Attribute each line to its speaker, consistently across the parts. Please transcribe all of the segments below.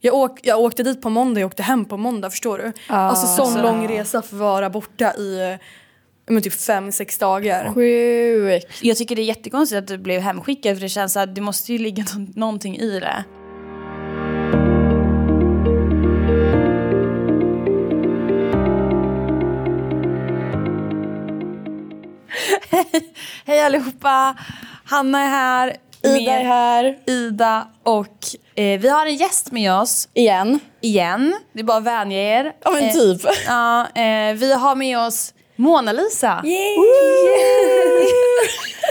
Speaker 1: Jag, åk, jag åkte dit på måndag, jag åkte hem på måndag förstår du. alltså sån
Speaker 2: alltså.
Speaker 1: lång resa för att vara borta i eh, men typ fem, sex dagar.
Speaker 2: Sjukt.
Speaker 3: Jag tycker det är jättekonstigt att du blev hemskickad för det känns att det måste ju ligga nå- någonting i det. Hej allihopa! Hanna är här.
Speaker 2: Ida är här.
Speaker 3: Ida och eh, vi har en gäst med oss
Speaker 2: Igen.
Speaker 3: igen. Det är bara att vänja er.
Speaker 2: Ja men
Speaker 3: Eh,
Speaker 2: typ.
Speaker 3: Ja, eh, vi har med oss Mona Lisa.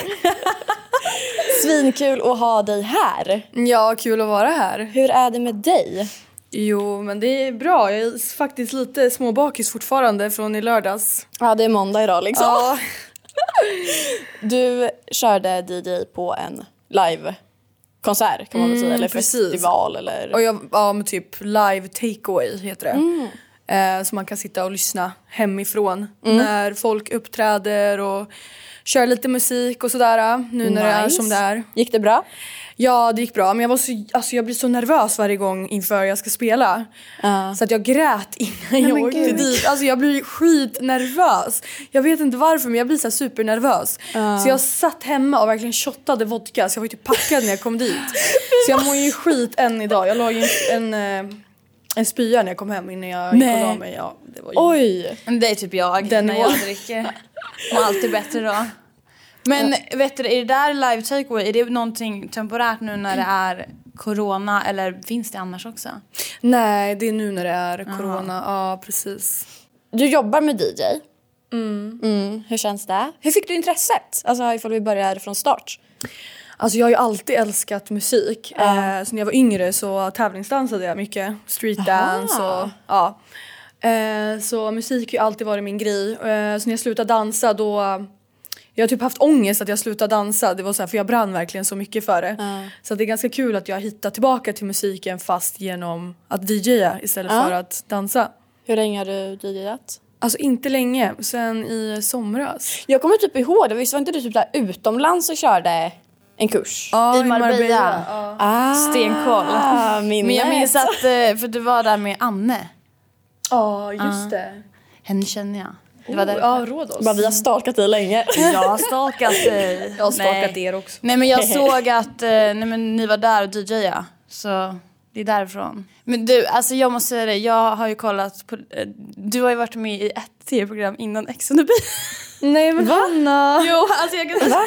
Speaker 2: Svinkul att ha dig här.
Speaker 1: Ja, kul att vara här.
Speaker 2: Hur är det med dig?
Speaker 1: Jo, men det är bra. Jag är faktiskt lite småbakis fortfarande från i lördags.
Speaker 2: Ja det är måndag idag liksom.
Speaker 1: Ja,
Speaker 2: Du körde DJ på en livekonsert kan man väl säga. Eller
Speaker 1: precis.
Speaker 2: festival eller.
Speaker 1: och jag, ja men typ live takeaway heter det. Eh, så man kan sitta och lyssna hemifrån när folk uppträder och kör lite musik och sådär. Nu när det är
Speaker 2: Nice.
Speaker 1: som det är.
Speaker 2: Gick det bra?
Speaker 1: Ja, det gick bra. Men jag, var så, alltså, jag blir så nervös varje gång inför jag ska spela. Så att jag grät innan jag
Speaker 2: men
Speaker 1: åkte
Speaker 2: gud.
Speaker 1: dit. Alltså, jag blir skitnervös. Jag vet inte varför, men jag blir så här supernervös. Så jag satt hemma och verkligen shottade vodka. Så jag var ju typ packad när jag kom dit. Så jag mår ju skit än idag. Jag la ju en, en, eh, en spya när jag kom hem innan jag gick
Speaker 2: Nej.
Speaker 1: och la mig. Ja, det var ju...
Speaker 2: Oj!
Speaker 3: Men Det är typ jag
Speaker 1: Den
Speaker 3: när
Speaker 1: nivån.
Speaker 3: jag dricker. Mår alltid bättre då. Men vet du, är det där live takeaway, är det någonting temporärt nu när det är corona eller finns det annars också?
Speaker 1: Nej, det är nu när det är corona. Ja, precis.
Speaker 2: Du jobbar med DJ. Mm, Hur känns det? Hur fick du intresset? Alltså ifall vi börjar från start.
Speaker 1: Alltså jag har ju alltid älskat musik. Eh, så när jag var yngre så tävlingsdansade jag mycket. Streetdance
Speaker 2: Aha.
Speaker 1: och ja. Eh, så musik har ju alltid varit min grej. Eh, så när jag slutade dansa då jag har typ haft ångest att jag slutade dansa, det var så här, för jag brann verkligen så mycket för det. Så att det är ganska kul att jag hittat tillbaka till musiken fast genom att DJa istället
Speaker 2: Ja.
Speaker 1: för att dansa.
Speaker 2: Hur länge har du DJat?
Speaker 1: Alltså inte länge, sen i somras.
Speaker 2: Jag kommer typ ihåg det. Visst var inte du typ där utomlands och körde en kurs?
Speaker 1: Ja,
Speaker 3: I Marbella.
Speaker 1: Ja.
Speaker 2: Ah,
Speaker 3: Stenkoll.
Speaker 2: Minnet.
Speaker 3: Men jag minns att, eh, för du var där med Anne.
Speaker 1: Ja, just det. Oh,
Speaker 3: Henne känner jag. Det var där.
Speaker 1: Ja, Rhodos.
Speaker 2: Bara, vi har stalkat dig länge.
Speaker 3: Jag har stalkat dig.
Speaker 1: Jag har stalkat
Speaker 3: nej.
Speaker 1: er också.
Speaker 3: Nej men jag såg att eh, nej, men ni var där och DJade. Så det är därifrån. Men du, alltså jag måste säga det. Jag har ju kollat på... eh, Du har ju varit med i ett tv-program innan Ex on the beach.
Speaker 1: Nej men Hanna!
Speaker 3: Jo, alltså jag kan säga...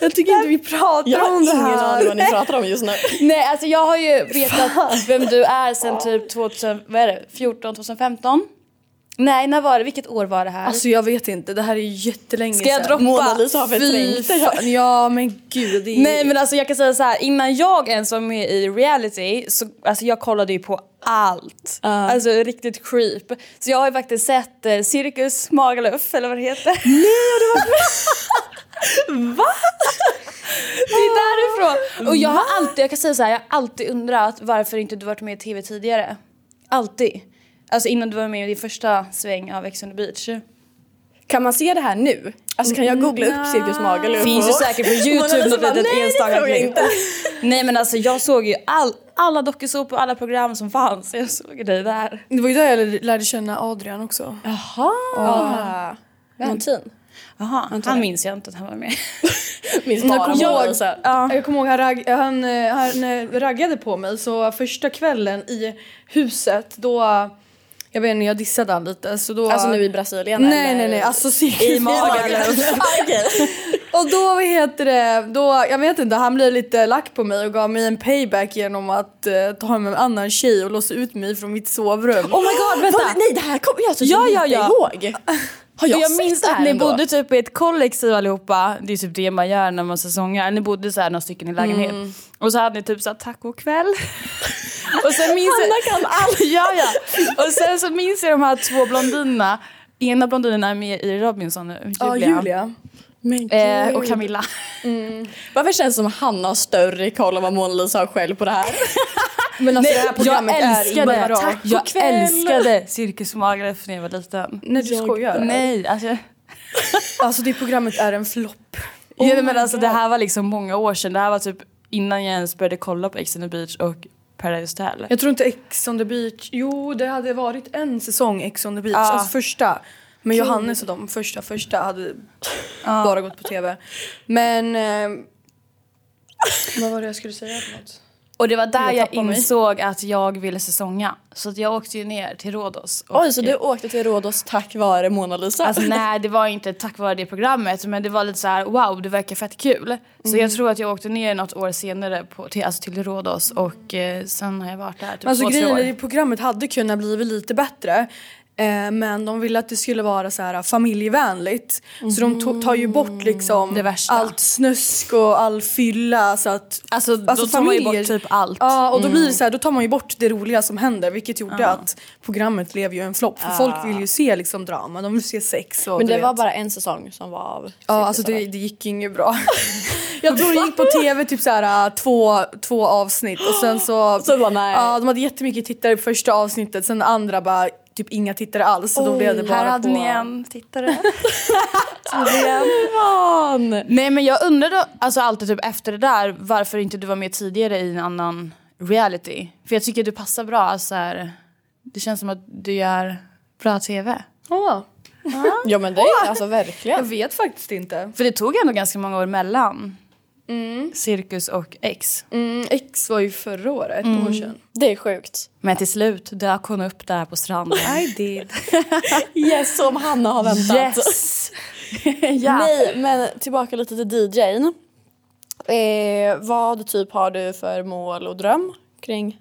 Speaker 1: Jag tycker inte vi pratar
Speaker 2: Jag har
Speaker 1: om det
Speaker 2: ingen aning
Speaker 1: här.
Speaker 2: vad ni pratar om just nu.
Speaker 3: Nej, alltså jag har ju vetat vem du är sen typ 2000, vad är det, 14, 2015? Nej, när var det? Vilket år var det här?
Speaker 1: Alltså jag vet inte, det här är ju jättelänge
Speaker 3: Ska jag
Speaker 1: sedan.
Speaker 3: droppa?
Speaker 2: Mona Lisa har
Speaker 1: Fy
Speaker 2: förträngt det.
Speaker 1: fan, ja men gud. Det är...
Speaker 3: Nej men alltså jag kan säga så här, innan jag ens var med i reality så alltså jag kollade ju på allt.
Speaker 2: Ah.
Speaker 3: Alltså riktigt creep. Så jag har ju faktiskt sett eh, Cirkus Magaluf eller vad det heter. Nej har du varit med? Va? Det är därifrån. Och jag har alltid, jag kan säga så här, jag har alltid undrat varför inte du varit med i tv tidigare. Alltid. Alltså innan du var med i din första sväng av Ex on the beach.
Speaker 2: Kan man se det här nu? Alltså kan jag googla upp Cirkus Magaluf?
Speaker 3: Mm, Finns ju
Speaker 2: och-
Speaker 3: säkert på
Speaker 2: Mona Lisa
Speaker 3: Youtube något
Speaker 2: bara,
Speaker 3: litet
Speaker 2: "Nej, det
Speaker 3: enstaka
Speaker 2: tror jag
Speaker 3: klipp.
Speaker 2: inte."
Speaker 3: Nej men alltså jag såg ju all, alla dokusåpor och alla program som fanns. Jag såg dig där.
Speaker 1: Det var ju där jag lärde känna Adrian också.
Speaker 2: Jaha. Ja. Montin.
Speaker 3: Jaha, han minns jag inte att han var med.
Speaker 2: Minns
Speaker 1: Jag
Speaker 2: bara
Speaker 1: kommer
Speaker 2: Mona
Speaker 1: ihåg-
Speaker 2: Lisa.
Speaker 1: Jag kommer ihåg han, ragg, han, eh, han eh, raggade på mig så första kvällen i huset då, jag vet inte jag dissade han lite så då
Speaker 2: Alltså nu i Brasilien
Speaker 1: Nej
Speaker 2: eller?
Speaker 1: nej nej, alltså Cirkus
Speaker 2: I Magaluf.
Speaker 1: Magaluf.
Speaker 2: Okej.
Speaker 1: Och då, vad heter det, då, jag vet inte, han blev lite lack på mig och gav mig en payback genom att eh, ta hem en annan tjej och låsa ut mig från mitt sovrum.
Speaker 2: Oh my god vänta. Nej det här kommer jag typ
Speaker 3: Ja,
Speaker 2: inte
Speaker 3: ja, ja.
Speaker 2: ihåg. Har jag,
Speaker 3: Jag,
Speaker 2: sett
Speaker 3: minns
Speaker 2: det här
Speaker 3: att ni
Speaker 2: ändå?
Speaker 3: bodde typ i ett kollektiv allihopa. Det är typ det man gör när man säsongar. Ni bodde så här några stycken i lägenhet. Och så hade ni typ så här tacokväll. och sen minns jag...
Speaker 2: Hanna kan allt.
Speaker 3: ja, ja. Och sen så minns jag de här två blondinerna. Ena blondinen är med i Robinson nu,
Speaker 1: Ja,
Speaker 3: Julia.
Speaker 1: Julia.
Speaker 2: Men
Speaker 3: Eh,
Speaker 2: gud.
Speaker 3: och Camilla.
Speaker 2: Varför känns det som att Hanna har större koll än vad Mona Lisa har själv på det här?
Speaker 1: Men alltså det här
Speaker 3: jag
Speaker 1: programmet är
Speaker 3: älskade,
Speaker 1: inte bra.
Speaker 3: tack jag
Speaker 2: kväll.
Speaker 3: älskade Cirkus Magaluf när jag var liten.
Speaker 1: Nej du skojar.
Speaker 3: Nej, alltså,
Speaker 1: Alltså det programmet är en flopp.
Speaker 3: alltså, jag, men alltså det här var liksom många år sedan. Det här var typ innan jag ens började kolla på Ex on the beach och Paradise Hotel.
Speaker 1: Jag tror inte Ex on the beach. Jo, det hade varit en säsong Ex on the beach.
Speaker 3: Ja.
Speaker 1: Alltså första. Men Johannes och de första, första hade bara gått på tv. Men... Eh, vad var det jag skulle säga för något?
Speaker 3: Och det var där
Speaker 1: Jag
Speaker 3: jag,
Speaker 1: tappar mig.
Speaker 3: insåg att jag ville säsonga. Så att jag åkte ju ner till Rhodos. och-
Speaker 2: Oj, så du åkte till Rhodos tack vare Mona Lisa?
Speaker 3: Alltså nej, det var inte tack vare det programmet men det var lite så här: wow det verkar fett kul. Så
Speaker 1: Mm.
Speaker 3: jag tror att jag åkte ner något år senare på, till, alltså till Rhodos och eh, sen har jag varit där typ
Speaker 1: Men alltså
Speaker 3: två, tre
Speaker 1: grejen
Speaker 3: år.
Speaker 1: är att programmet hade kunnat bli lite bättre. Eh, men de ville att det skulle vara så här familjevänligt. Så de to- tar ju bort liksom
Speaker 3: Mm. Det värsta.
Speaker 1: allt snusk och all fylla. Så att,
Speaker 3: Alltså, då tar man ju bort typ allt.
Speaker 1: Ja och då blir det så här, då tar man ju bort det roliga som händer vilket gjorde att programmet blev ju en flopp. För folk vill ju se liksom drama, de vill se sex och
Speaker 2: Men
Speaker 1: du
Speaker 2: det
Speaker 1: vet.
Speaker 2: var bara en säsong som var av
Speaker 1: Ja alltså det, det gick inget bra. Jag tror det gick på tv typ så här, äh, två, två avsnitt och sen så...
Speaker 2: Så bara, nej.
Speaker 1: Ja de hade jättemycket tittare på första avsnittet sen andra bara typ inga tittare alls. Så då blev det bara
Speaker 3: Här hade
Speaker 1: på...
Speaker 3: ni en tittare.
Speaker 2: Fan!
Speaker 3: nej men jag undrade alltså alltid typ efter det där varför inte du var med tidigare i en annan reality. För jag tycker du passar bra alltså, så här, det känns som att du gör bra tv.
Speaker 1: Ja,
Speaker 2: Ja men det är alltså
Speaker 1: jag
Speaker 2: verkligen.
Speaker 1: vet faktiskt inte.
Speaker 3: För det tog ändå ganska många år mellan Mm. Cirkus och X.
Speaker 1: Mm, X var ju förra året, ett år sedan.
Speaker 2: Det är sjukt.
Speaker 3: Men till slut dök hon upp där på stranden.
Speaker 1: I did.
Speaker 2: Yes, som Hanna har väntat.
Speaker 3: Yes! ja.
Speaker 2: Nej, men tillbaka lite till DJn. Eh, vad typ har du för mål och dröm kring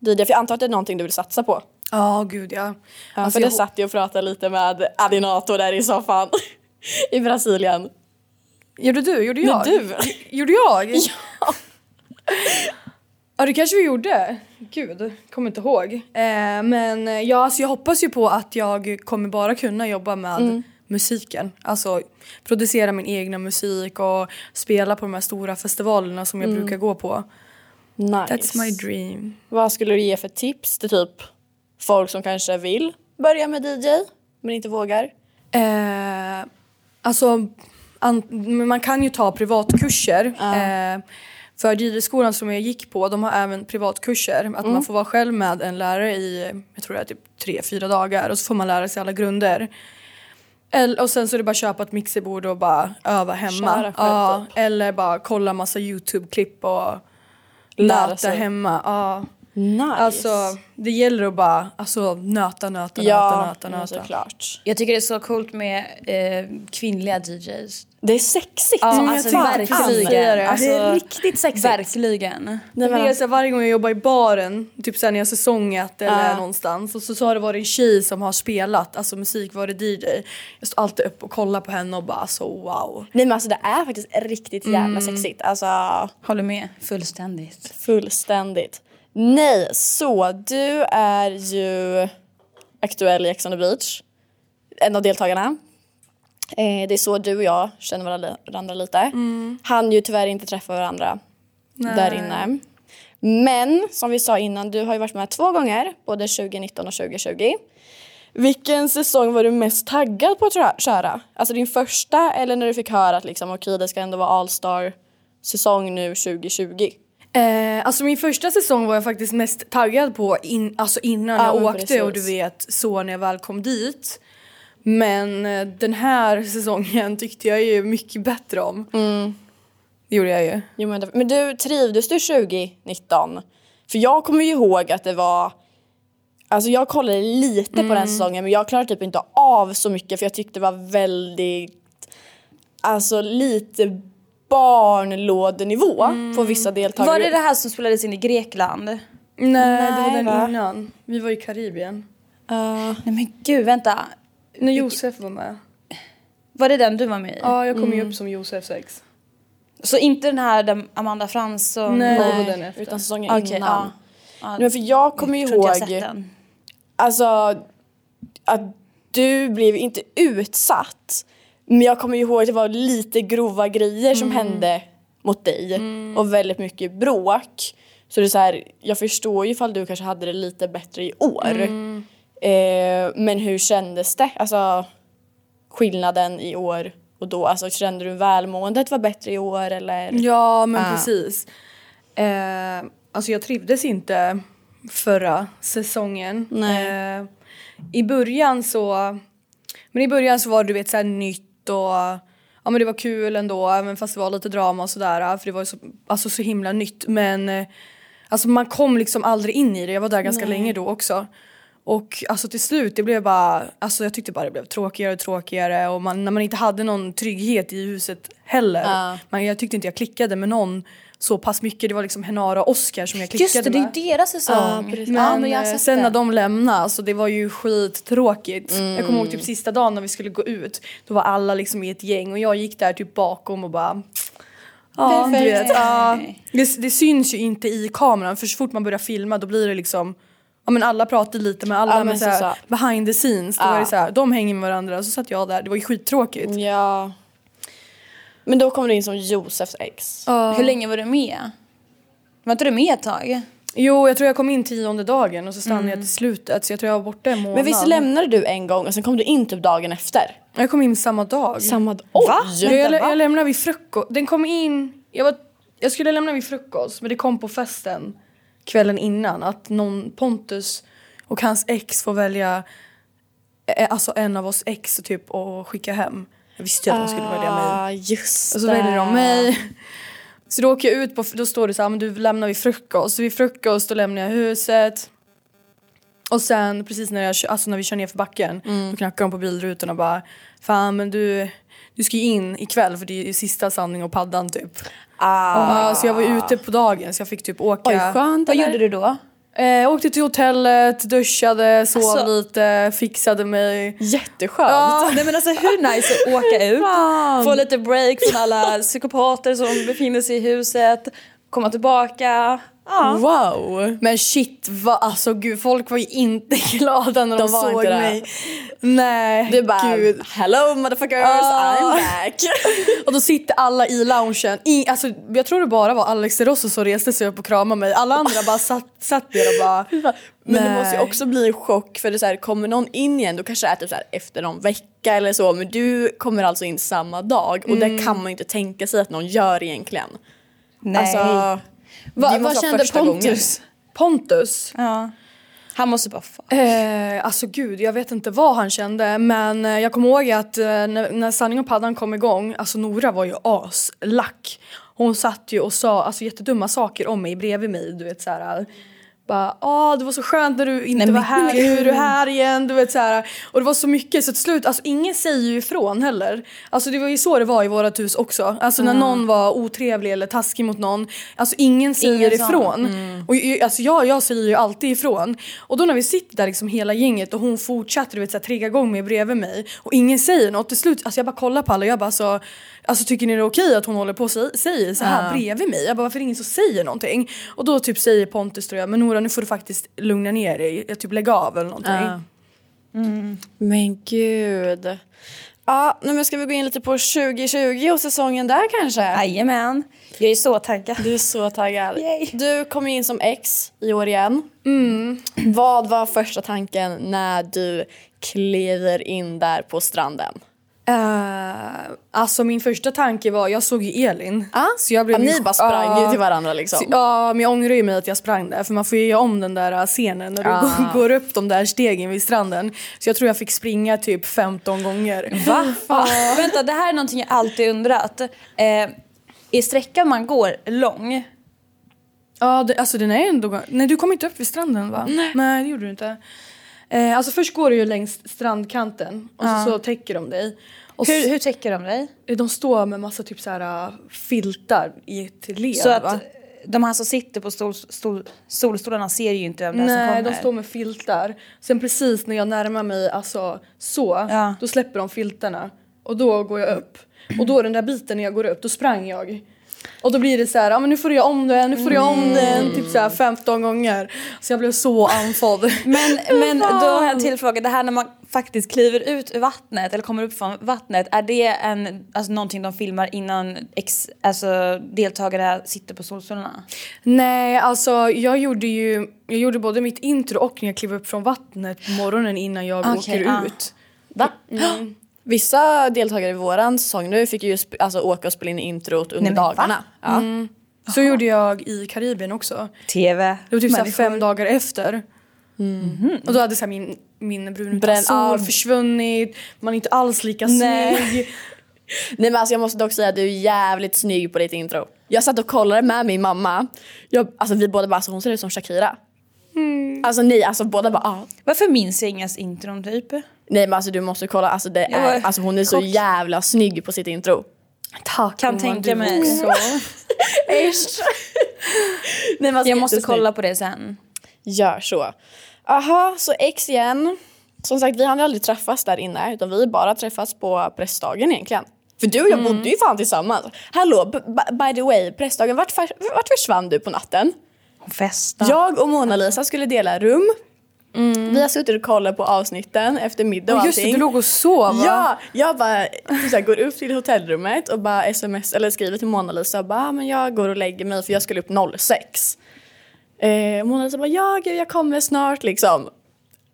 Speaker 2: DJ? För jag antar att det är någonting du vill satsa på.
Speaker 1: Ja gud ja.
Speaker 2: Ja,
Speaker 1: Alltså,
Speaker 2: för det
Speaker 1: jag-
Speaker 2: satt jag och pratade lite med Adinato där i soffan i Brasilien.
Speaker 1: Gjorde du? Gjorde jag?
Speaker 2: du.
Speaker 1: Gjorde jag? Ja. ja, det kanske vi gjorde. Gud, kommer inte ihåg. Eh, men eh, ja, alltså jag hoppas ju på att jag kommer bara kunna jobba med musiken. Alltså producera min egna musik och spela på de här stora festivalerna som jag brukar gå på.
Speaker 2: Nice.
Speaker 1: That's my dream.
Speaker 2: Vad skulle du ge för tips till typ folk som kanske vill börja med DJ men inte vågar?
Speaker 1: Eh, alltså, an, men man kan ju ta privatkurser. Eh, för DJ-skolan som jag gick på, de har även privatkurser. Att
Speaker 2: Mm.
Speaker 1: man får vara själv med en lärare i, jag tror det är typ tre, fyra dagar och så får man lära sig alla grunder. Eller, och sen så är det bara att köpa ett mixerbord och bara öva
Speaker 2: Köra
Speaker 1: hemma.
Speaker 2: själv,
Speaker 1: Ja, eller bara kolla massa YouTube-klipp och
Speaker 2: Lära
Speaker 1: nöta
Speaker 2: sig.
Speaker 1: hemma. Ja.
Speaker 2: Nice.
Speaker 1: Alltså, det gäller att bara alltså, nöta, nöta, nöta,
Speaker 2: ja,
Speaker 1: nöta,
Speaker 2: men
Speaker 1: nöta.
Speaker 2: såklart.
Speaker 3: Jag tycker det är så coolt med eh, kvinnliga DJs.
Speaker 2: Det är sexigt. Mm,
Speaker 3: Ja,
Speaker 2: som
Speaker 3: alltså
Speaker 2: fan.
Speaker 3: verkligen. Alltså,
Speaker 2: Det är
Speaker 3: riktigt sexigt. Verkligen.
Speaker 2: Nej,
Speaker 1: Det
Speaker 2: men
Speaker 1: är så här, varje gång jag jobbar i baren, typ så här när jag har säsongat eller någonstans och så, så har det varit en tjej som har spelat, alltså musik, varit DJ. Jag står alltid upp och kollar på henne och bara alltså wow.
Speaker 2: Nej men alltså det är faktiskt riktigt jävla sexigt. Alltså
Speaker 3: Håller med. Fullständigt.
Speaker 2: fullständigt. Nej, så du är ju aktuell i Ex on the beach. En av deltagarna. Eh, det är så du och jag känner varandra- varandra lite. Mm. Han ju tyvärr inte träffa varandra där inne. Men som vi sa innan, du har ju varit med två gånger, både 2019 och 2020. Vilken säsong var du mest taggad på att trö- köra? Alltså din första eller när du fick höra att liksom, okej, det ska ändå vara All-star säsong nu 2020?
Speaker 1: Eh, alltså min första säsong var jag faktiskt mest taggad på in, alltså innan
Speaker 2: Ja,
Speaker 1: jag
Speaker 2: men
Speaker 1: åkte och du
Speaker 2: precis.
Speaker 1: vet så när jag väl kom dit. Men eh, den här säsongen tyckte jag ju mycket bättre om. Det gjorde jag ju.
Speaker 2: Jo, men, men du trivdes du 2019? För jag kommer ju ihåg att det var... Alltså jag kollade lite på
Speaker 3: Mm.
Speaker 2: den säsongen men jag klarade typ inte av så mycket för jag tyckte det var väldigt... Alltså lite barnlådenivå på vissa deltagare.
Speaker 3: Mm. Var det det här som spelades in i Grekland? Nej
Speaker 1: Nej, det var
Speaker 2: Nej,
Speaker 1: den
Speaker 2: va?
Speaker 1: innan. Vi var i Karibien.
Speaker 2: Ja.
Speaker 3: men gud, vänta.
Speaker 1: När Josef var med.
Speaker 3: Var det den du var med i?
Speaker 1: Ja, jag kom ju upp som Josefs ex.
Speaker 3: Så inte den här där Amanda Fransson?
Speaker 1: Nej.
Speaker 3: Okej,
Speaker 1: var den efter.
Speaker 2: utan säsongen
Speaker 3: okay,
Speaker 2: innan.
Speaker 3: ja. ja.
Speaker 2: Nej, Men för jag kommer ju
Speaker 3: tror inte jag har
Speaker 2: ihåg...
Speaker 3: sett den.
Speaker 2: Alltså att du blev inte utsatt men jag kommer ihåg att det var lite grova grejer som hände mot dig och väldigt mycket bråk. Så det är så här, jag förstår ju ifall du kanske hade det lite bättre i år. Eh, men hur kändes det? Alltså skillnaden i år och då? Alltså kände du välmåendet var bättre i år eller?
Speaker 1: Ja, men precis. Eh, alltså jag trivdes inte förra säsongen.
Speaker 2: Nej.
Speaker 1: Eh, I början så, men i början så var det du vet så här nytt och ja men det var kul ändå även fast det var lite drama och sådär för det var ju så, alltså så himla nytt men eh, alltså man kom liksom aldrig in i det. Jag var där ganska länge då också. Och alltså till slut det blev bara, alltså jag tyckte bara det blev tråkigare och tråkigare och man, när man inte hade någon trygghet i huset heller.
Speaker 2: Ja.
Speaker 1: Man, jag tyckte inte jag klickade med någon så pass mycket. Det var liksom Henara och Oscar som jag klickade
Speaker 3: Just det, det är
Speaker 1: med.
Speaker 3: ju deras säsong.
Speaker 2: Ja, precis.
Speaker 1: Men,
Speaker 3: ja, men jag har
Speaker 1: eh,
Speaker 3: sett
Speaker 1: sen
Speaker 3: det.
Speaker 1: när de lämnade, alltså det var ju skittråkigt. Jag
Speaker 3: Mm.
Speaker 1: kommer ihåg typ sista dagen när vi skulle gå ut, då var alla liksom i ett gäng och jag gick där typ bakom och bara Ja, du
Speaker 2: Perfekt.
Speaker 1: vet. Ja, det, det syns ju inte i kameran för så fort man börjar filma då blir det liksom Ja men alla pratar lite med alla
Speaker 2: Ja,
Speaker 1: men,
Speaker 2: men
Speaker 1: så här,
Speaker 2: så-
Speaker 1: behind the scenes, då
Speaker 2: Ja.
Speaker 1: var det så här, de hänger med varandra och så satt jag där, det var ju skittråkigt.
Speaker 2: Ja. Men då kommer du in som Josefs ex.
Speaker 1: Ja.
Speaker 3: Hur länge var du med? Var inte du med ett tag?
Speaker 1: Jo jag tror jag kom in tionde dagen och så stannade jag till slutet så jag tror jag var borta en månad.
Speaker 2: Mm. Men visst lämnade du en gång och sen kom du in typ dagen efter?
Speaker 1: Jag kom in samma dag.
Speaker 2: Samma dag? Oj!
Speaker 1: Va? Jag, jag,
Speaker 2: va?
Speaker 1: jag lämnade vid frukost. Den kom in... Jag, var, jag skulle lämna vid frukost men det kom på festen kvällen innan att någon Pontus och hans ex får välja eh, alltså en av oss ex typ och skicka hem. Jag visste ju att de skulle välja mig.
Speaker 2: Ah, just
Speaker 1: Och så
Speaker 2: det.
Speaker 1: väljer de mig. Så då åker jag ut på, då står det så här, men du lämnar vid frukost. Så vid frukost då lämnar jag huset. Och sen precis när, jag, kö- alltså när vi kör ner för backen
Speaker 2: Mm.
Speaker 1: då knackar de på bilrutan och bara Fan men du, du ska ju in ikväll för det är ju sista sanning och paddan typ.
Speaker 2: Ah.
Speaker 1: Ja, så jag var ute på dagen så jag fick typ åka.
Speaker 2: Oj, skönt
Speaker 3: Vad
Speaker 2: eller?
Speaker 3: gjorde du då?
Speaker 1: Eh, jag åkte till hotellet, duschade, sov
Speaker 3: Alltså-
Speaker 1: lite, fixade mig.
Speaker 2: Jätteskönt.
Speaker 3: Ja, nej men alltså hur nice att åka ut,
Speaker 2: Fan.
Speaker 3: få lite break från alla psykopater som befinner sig i huset, komma tillbaka. Ja.
Speaker 2: Wow.
Speaker 1: Men shit, va, alltså gud folk var ju inte glada när de,
Speaker 2: var
Speaker 1: såg
Speaker 2: inte det.
Speaker 1: mig. Nej,
Speaker 2: Du bara,
Speaker 1: gud.
Speaker 2: hello motherfuckers,
Speaker 1: Ah.
Speaker 2: I'm back.
Speaker 1: Och då sitter alla i loungen. I, alltså, jag tror det bara var Alex de Rosso som reste sig upp och kramade mig. Alla andra bara satt, satt där och bara...
Speaker 2: Men det måste ju
Speaker 1: Nej.
Speaker 2: också bli en chock för det är så här, kommer någon in igen då kanske det är typ så här, efter någon vecka eller så men du kommer alltså in samma dag och
Speaker 1: Mm.
Speaker 2: det kan man ju inte tänka sig att någon gör egentligen.
Speaker 3: Nej.
Speaker 2: Alltså,
Speaker 3: Va,
Speaker 2: det måste
Speaker 3: vad
Speaker 2: vara
Speaker 3: kände
Speaker 2: första
Speaker 3: Pontus?
Speaker 1: Pontus.
Speaker 3: Ja. Han måste bara fan.
Speaker 1: Eh, alltså gud, jag vet inte vad han kände men eh, jag kommer ihåg att eh, när, när Sanning och Paddan kom igång, alltså Nora var ju aslack. Hon satt ju och sa alltså, jättedumma saker om mig bredvid mig. Du vet så här, eh, bara ah det var så skönt när du inte var
Speaker 3: Nej, men
Speaker 1: här,
Speaker 3: gud.
Speaker 1: nu är du här igen. Du vet så här. Och det var så mycket så till slut, alltså ingen säger ju ifrån heller. Alltså det var ju så det var i vårat hus också. Alltså när någon var otrevlig eller taskig mot någon, alltså ingen säger
Speaker 3: Ingen sa.
Speaker 1: ifrån.
Speaker 2: Mm.
Speaker 1: Och ju- alltså jag, jag säger ju alltid ifrån. Och då när vi sitter där liksom hela gänget och hon fortsätter du vet så här, trigga igång mig bredvid mig och ingen säger något. Till slut, alltså jag bara kollar på alla och jag bara så, alltså tycker ni det är okej att hon håller på och säger- säger så här bredvid mig? Jag bara varför är det ingen som säger någonting? Och då typ säger Pontus tror jag, men Nora nu får du faktiskt lugna ner dig, jag typ lägga av eller någonting.
Speaker 2: Ja. Men gud. Ja, nej, men ska vi gå in lite på 2020 och säsongen där kanske?
Speaker 3: Jajamän. Jag är så taggad.
Speaker 2: Du är så taggad.
Speaker 3: Yay.
Speaker 2: Du kom in som ex i år igen. Vad var första tanken när du kliver in där på stranden?
Speaker 1: Eh, alltså min första tanke var, jag såg ju Elin.
Speaker 2: Ah,
Speaker 1: Så jag blev liksom,
Speaker 2: ni bara sprang ju
Speaker 1: Ja.
Speaker 2: till varandra liksom.
Speaker 1: Så, ja, men jag ångrar ju mig att jag sprang där för man får ju göra om den där äh, scenen när du
Speaker 3: Ah.
Speaker 1: går- går upp de där stegen vid stranden. Så jag tror jag fick springa typ 15 gånger.
Speaker 3: Va? Vänta, det här är någonting jag alltid undrat. Eh, är sträckan man går lång?
Speaker 1: Ja, det, alltså den är ändå... Nej, du kom inte upp vid stranden va? Nej. Nej, det gjorde du inte. Eh, alltså först går du ju längs strandkanten och så, så täcker de dig. Och
Speaker 3: Ah. Hur, hur täcker de dig?
Speaker 1: s- de står med massa typ så här äh, filtar i ett led
Speaker 3: Så
Speaker 1: va?
Speaker 3: att de här som sitter på stol, stol, solstolarna ser ju inte vem det är som
Speaker 1: Nej,
Speaker 3: kommer.
Speaker 1: de står med filtar. Sen precis när jag närmar mig alltså, så,
Speaker 3: Ja.
Speaker 1: då släpper de filtarna. Och då går jag upp. Och då den där biten när jag går upp, då sprang jag. Och då blir det så här, ah, men nu får du göra om den, nu får du göra om den, typ så här 15 gånger. Så jag blev så andfådd.
Speaker 3: Men, men då har jag en till fråga. Det här när man faktiskt kliver ut ur vattnet eller kommer upp från vattnet. Är det en, alltså någonting de filmar innan ex, alltså deltagare sitter på solstolarna?
Speaker 1: Nej, alltså jag gjorde ju, jag gjorde både mitt intro och när jag klev upp från vattnet på morgonen innan jag
Speaker 3: Okej,
Speaker 1: åker
Speaker 3: ja.
Speaker 1: ut.
Speaker 2: Va? Vissa deltagare i våran säsong nu fick ju sp- alltså, åka och spela in introt under
Speaker 3: Nej, men va?
Speaker 1: Ah.
Speaker 2: dagarna. Ja.
Speaker 1: Mm. Så gjorde jag i Karibien också.
Speaker 4: TV.
Speaker 1: Det var typ såhär
Speaker 4: Människor.
Speaker 1: fem dagar efter. Mm. Mhm. Och då hade såhär min, min brunruta
Speaker 2: Bränn
Speaker 1: sol
Speaker 2: av.
Speaker 1: försvunnit, man är inte alls lika snygg.
Speaker 2: Nej men alltså jag måste dock säga att du är jävligt snygg på ditt intro. Jag satt och kollade med min mamma. Jag, alltså vi båda bara, alltså, hon ser ut som Shakira.
Speaker 3: Hmm.
Speaker 2: Alltså ni, alltså båda bara, ah.
Speaker 3: Varför minns jag ingas intron typ?
Speaker 2: Nej men alltså du måste kolla, alltså, det
Speaker 3: Jag
Speaker 2: är,
Speaker 3: var
Speaker 2: alltså hon är så
Speaker 3: chock.
Speaker 2: jävla snygg på sitt intro.
Speaker 1: Tack
Speaker 3: Kan
Speaker 1: gumman,
Speaker 3: tänka
Speaker 1: du
Speaker 3: mig.
Speaker 1: också.
Speaker 2: Nej, men alltså,
Speaker 3: Jag måste
Speaker 2: jättesnygg.
Speaker 3: kolla på det sen.
Speaker 2: Gör så. Aha, så ex igen. Som sagt vi hann ju aldrig träffas där inne utan vi bara träffats på pressdagen egentligen. För du och jag
Speaker 3: Mm.
Speaker 2: bodde ju fan tillsammans. Hallå, b- b- by the way, pressdagen, vart, fars- vart försvann du på natten?
Speaker 4: Festa.
Speaker 2: Jag och Mona-Lisa skulle dela rum. Vi har suttit och kollat på avsnitten efter middag och
Speaker 1: Mm. Och just det,
Speaker 2: allting.
Speaker 1: du låg och sov va?
Speaker 2: Ja, jag bara typ så här, går upp till hotellrummet och bara sms, eller skriver till Mona-Lisa och bara "Ah, men jag går och lägger mig för jag skulle upp 06. Eh, Mona-Lisa bara ja gud jag kommer snart liksom.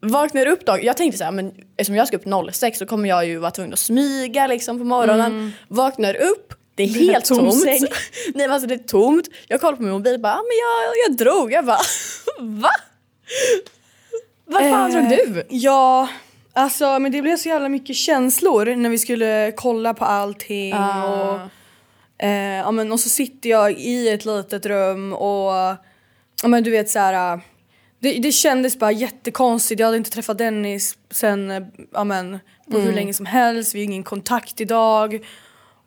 Speaker 2: Vaknar upp då, jag tänkte så här, men eftersom jag ska upp 06 så kommer jag ju vara tvungen att smyga liksom på morgonen. Vaknar upp, det är helt
Speaker 4: tom
Speaker 2: tomt.
Speaker 4: säng.
Speaker 2: Nej men alltså det är tomt. Jag kollar på min mobil bara, "Ah, men jag, jag drog. Jag bara, va? Vad fan
Speaker 1: Eh,
Speaker 2: drog du?
Speaker 1: Ja, alltså men det blev så jävla mycket känslor när vi skulle kolla på allting och
Speaker 2: Ah.
Speaker 1: Eh, ja, men, och så sitter jag i ett litet rum och ja, men, du vet så här. eh, Det, det kändes bara jättekonstigt. Jag hade inte träffat Dennis sen eh, ja, men, på
Speaker 2: Mm.
Speaker 1: hur länge som helst. Vi har ingen kontakt idag.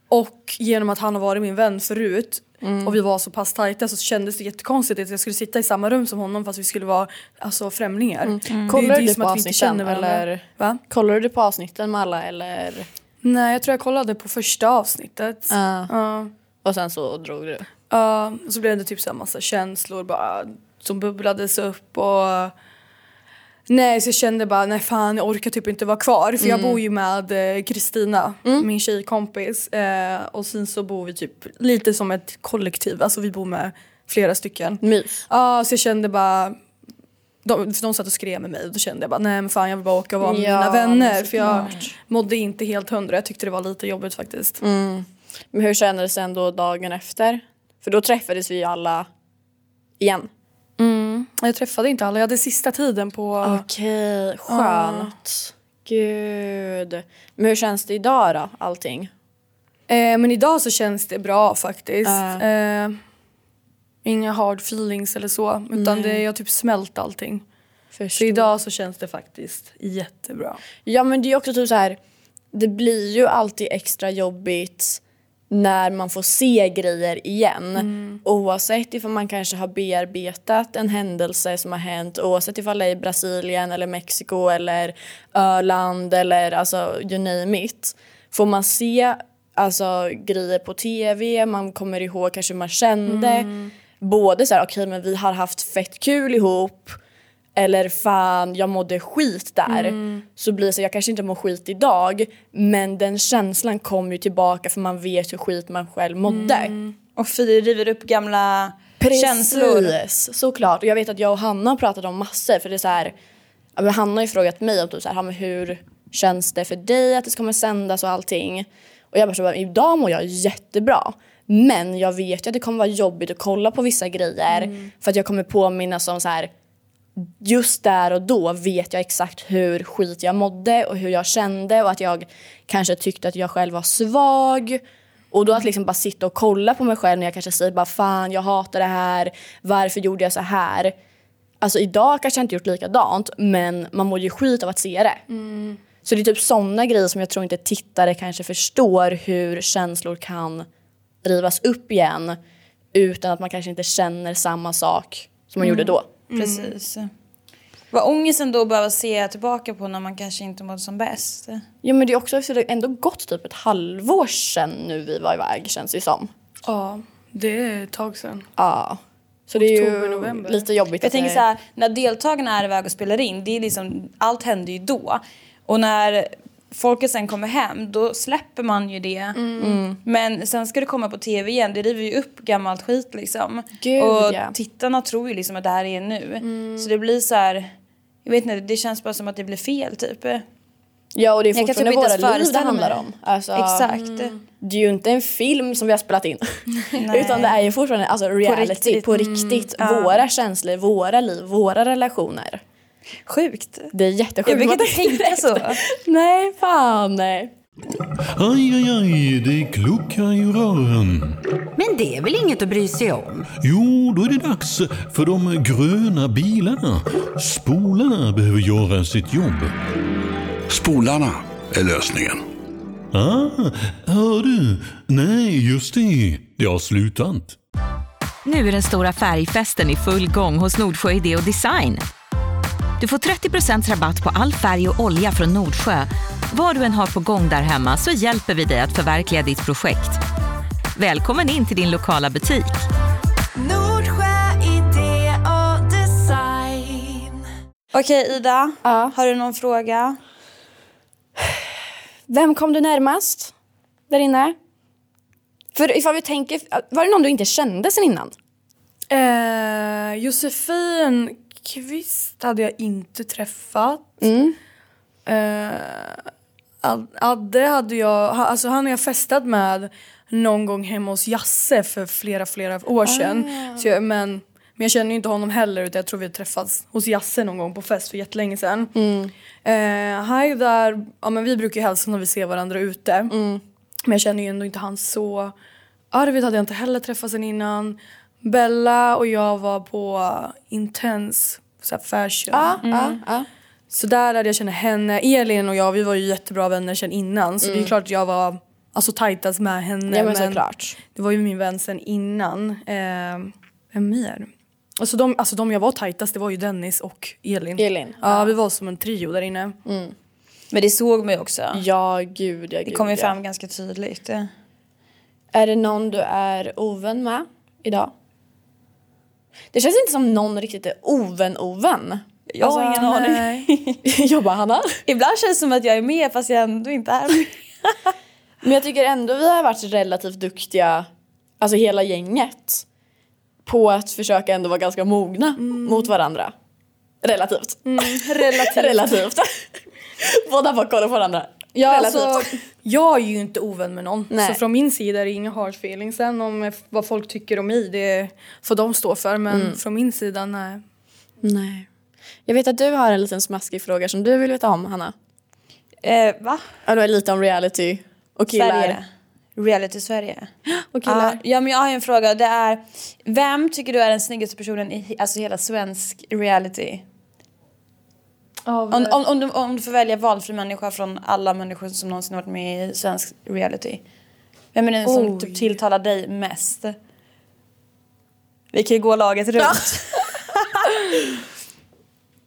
Speaker 1: Och genom att han har varit min vän förut
Speaker 2: Mm.
Speaker 1: och vi var så pass tajta så kändes det jättekonstigt att jag skulle sitta i samma rum som honom fast vi skulle vara alltså, främlingar. Det-
Speaker 2: Mm. Kollar
Speaker 1: det är
Speaker 2: du
Speaker 1: som
Speaker 2: på
Speaker 1: att vi inte
Speaker 2: avsnitten,
Speaker 1: känner varandra.
Speaker 2: eller?
Speaker 1: Va?
Speaker 2: Kollar du på avsnitten med alla eller?
Speaker 1: Nej, jag tror jag kollade på första avsnittet.
Speaker 2: Ja.
Speaker 1: Ja.
Speaker 2: Och sen så drog du?
Speaker 1: Ja, och så blev det typ så här massa känslor bara som bubblades upp och Nej, så jag kände bara nej fan jag orkar typ inte vara kvar för
Speaker 2: Mm.
Speaker 1: jag bor ju med eh, Kristina, min tjejkompis eh, och sen så bor vi typ lite som ett kollektiv, alltså vi bor med flera stycken.
Speaker 2: Mys.
Speaker 1: Ja, så jag kände bara de, för de satt och skrev med mig och då kände jag bara nej men fan jag vill bara åka och vara med
Speaker 2: Ja,
Speaker 1: mina
Speaker 2: men
Speaker 1: vänner för jag
Speaker 2: såklart.
Speaker 1: mådde inte helt hundra, jag tyckte det var lite jobbigt faktiskt.
Speaker 2: Mm. Men hur kändes det ändå dagen efter? För då träffades vi ju alla igen. Mm.
Speaker 1: Jag träffade inte alla, jag hade sista tiden på
Speaker 2: Okej, skönt. Gud. Men hur känns det idag då, allting?
Speaker 1: Eh, men idag så känns det bra faktiskt.
Speaker 2: Ja.
Speaker 1: Eh, inga hard feelings eller så. Utan det, jag har typ smält allting. Så idag så känns det faktiskt jättebra.
Speaker 2: Ja men det är ju också typ så här. det blir ju alltid extra jobbigt när man får se grejer igen. Oavsett ifall man kanske har bearbetat en händelse som har hänt oavsett ifall det är i Brasilien eller Mexiko eller Öland eller alltså you name it. Får man se alltså, grejer på tv, man kommer ihåg kanske hur man kände. Både så här, okej men vi har haft fett kul ihop eller fan jag mådde skit där så blir det så jag kanske inte mår skit idag men den känslan kommer ju tillbaka för man vet hur skit man själv mådde.
Speaker 3: Och Fi river upp gamla känslor.
Speaker 2: Precis, såklart. Och jag vet att jag och Hanna har pratat om massor för det är så här, ja, men Hanna har ju frågat mig om typ så här, ja, men hur känns det för dig att det kommer sändas och allting. Och jag bara så bara, idag mår jag jättebra. Men jag vet ju att det kommer vara jobbigt att kolla på vissa grejer för att jag kommer påminnas om så här just där och då vet jag exakt hur skit jag mådde och hur jag kände och att jag kanske tyckte att jag själv var svag. Och då att liksom bara sitta och kolla på mig själv när jag kanske säger bara fan jag hatar det här, varför gjorde jag så här? Alltså idag kanske jag inte gjort likadant men man mår ju skit av att se det. Så det är typ sådana grejer som jag tror inte tittare kanske förstår hur känslor kan rivas upp igen utan att man kanske inte känner samma sak som man gjorde då.
Speaker 3: Precis. Vad ångesten då att behöva se tillbaka på när man kanske inte mådde som bäst.
Speaker 2: Ja men det är också så det har ändå gått typ ett halvår sedan nu vi var iväg känns det ju som.
Speaker 1: Ja, det är ett tag sedan.
Speaker 2: Ja. Så det är
Speaker 1: Oktober,
Speaker 2: ju
Speaker 1: november.
Speaker 2: lite jobbigt.
Speaker 3: Jag
Speaker 2: att
Speaker 3: tänker
Speaker 2: det-
Speaker 3: så här, när deltagarna är iväg och spelar in, det är liksom, allt händer ju då. Och när folket sen kommer hem, då släpper man ju det.
Speaker 2: Mm.
Speaker 3: Men sen ska det komma på tv igen, det river ju upp gammalt skit liksom.
Speaker 2: Gud,
Speaker 3: och
Speaker 2: ja. Mm.
Speaker 3: tittarna tror ju liksom att det här är nu. Så det blir så här, jag vet inte, det känns bara som att det blir fel typ.
Speaker 2: Ja och det är
Speaker 3: Jag kan
Speaker 2: fortfarande
Speaker 3: typ inte ens
Speaker 2: våra liv det
Speaker 3: föreställa mig
Speaker 2: handlar
Speaker 3: det.
Speaker 2: om. Alltså,
Speaker 3: Exakt.
Speaker 2: Det är ju inte en film som vi har spelat in.
Speaker 3: Nej.
Speaker 2: Utan det är ju fortfarande alltså, reality, på riktigt,
Speaker 3: riktigt. Mm,
Speaker 2: våra känslor, våra liv, våra relationer.
Speaker 3: Sjukt.
Speaker 2: Det är jättesjukt.
Speaker 3: Jag brukar
Speaker 2: Man
Speaker 3: inte tänka så.
Speaker 2: Nej, fan nej.
Speaker 4: Aj, aj, aj, det kluckar i rören.
Speaker 5: Men det är väl inget att bry sig om?
Speaker 4: Jo, då är det dags för de gröna bilarna. Spolarna behöver göra sitt jobb.
Speaker 6: Spolarna är lösningen.
Speaker 4: Ah, hör du? Nej, just det. Det har slutat.
Speaker 7: Nu är den stora färgfesten i full gång hos Nordsjö Idé och Design. Du får 30 rabatt på all färg och olja från Nordsjö. Vad du än har på gång där hemma så hjälper vi dig att förverkliga ditt projekt. Välkommen in till din lokala butik.
Speaker 8: Nordsjö idé och design.
Speaker 3: Okej Ida,
Speaker 2: Ja.
Speaker 3: har du någon fråga?
Speaker 2: Vem kom du närmast där inne? För ifall vi tänker, var det någon du inte kände sen innan?
Speaker 1: Eh, Josefin Kvist hade jag inte träffat. Eh, Ad- Adde hade jag, ha- alltså han har jag festat med någon gång hemma hos Jasse för flera, flera år sedan. Så jag, men, men jag känner ju inte honom heller utan jag tror vi har träffats hos Jasse någon gång på fest för jättelänge sedan. Eh, Hai där, ja men vi brukar ju hälsa när vi ser varandra ute. Men jag känner ju ändå inte han så. Arvid hade jag inte heller träffat sen innan. Bella och jag var på Intense så här fashion.
Speaker 2: ja, ja.
Speaker 1: Så där lärde jag känna henne. Elin och jag vi var ju jättebra vänner sen innan så det är klart att jag var alltså tajtast med henne.
Speaker 2: Mm. ja men såklart.
Speaker 1: det var ju min vän sen innan. Eh, vem mer? Alltså de, alltså de jag var tajtast det var ju Dennis och Elin.
Speaker 2: Elin, Mm.
Speaker 1: Ja, vi var som en trio där inne.
Speaker 3: Men det såg mig också.
Speaker 2: Ja gud, ja gud.
Speaker 3: Det kom ju
Speaker 2: ja.
Speaker 3: fram ganska tydligt.
Speaker 2: Är det någon du är ovän med idag? Det känns inte som någon riktigt är ovän-ovän.
Speaker 3: Jag har ingen aning.
Speaker 2: jag bara Hanna.
Speaker 3: Ibland känns det som att jag är med fast jag ändå inte är med.
Speaker 2: Men jag tycker ändå vi har varit relativt duktiga, alltså hela gänget, på att försöka ändå vara ganska mogna mot varandra. Relativt. Mm. relativt. relativt. Båda bara kollar på varandra.
Speaker 1: Ja,
Speaker 2: relativt.
Speaker 1: alltså, jag är ju inte ovän med någon.
Speaker 2: Nej.
Speaker 1: Så från min sida är det inga hard feelings. Sen om eh, vad folk tycker om mig, det får de stå för. Men
Speaker 2: Mm.
Speaker 1: från min sida, nej.
Speaker 2: Nej. Jag vet att du har en liten smaskig fråga som du vill veta om, Hanna.
Speaker 3: Eh, va?
Speaker 2: Ja, det var lite om reality och killar.
Speaker 3: Sverige. Reality Sverige.
Speaker 2: Och killar.
Speaker 3: Ja, ja, men jag har ju en fråga. Det är, vem tycker du är den snyggaste personen i he- alltså hela svensk reality? Om, om, om, du, om du får välja valfri människa från alla människor som någonsin varit med i svensk reality. Vem är den som typ tilltalar dig mest? Vi kan ju gå laget runt.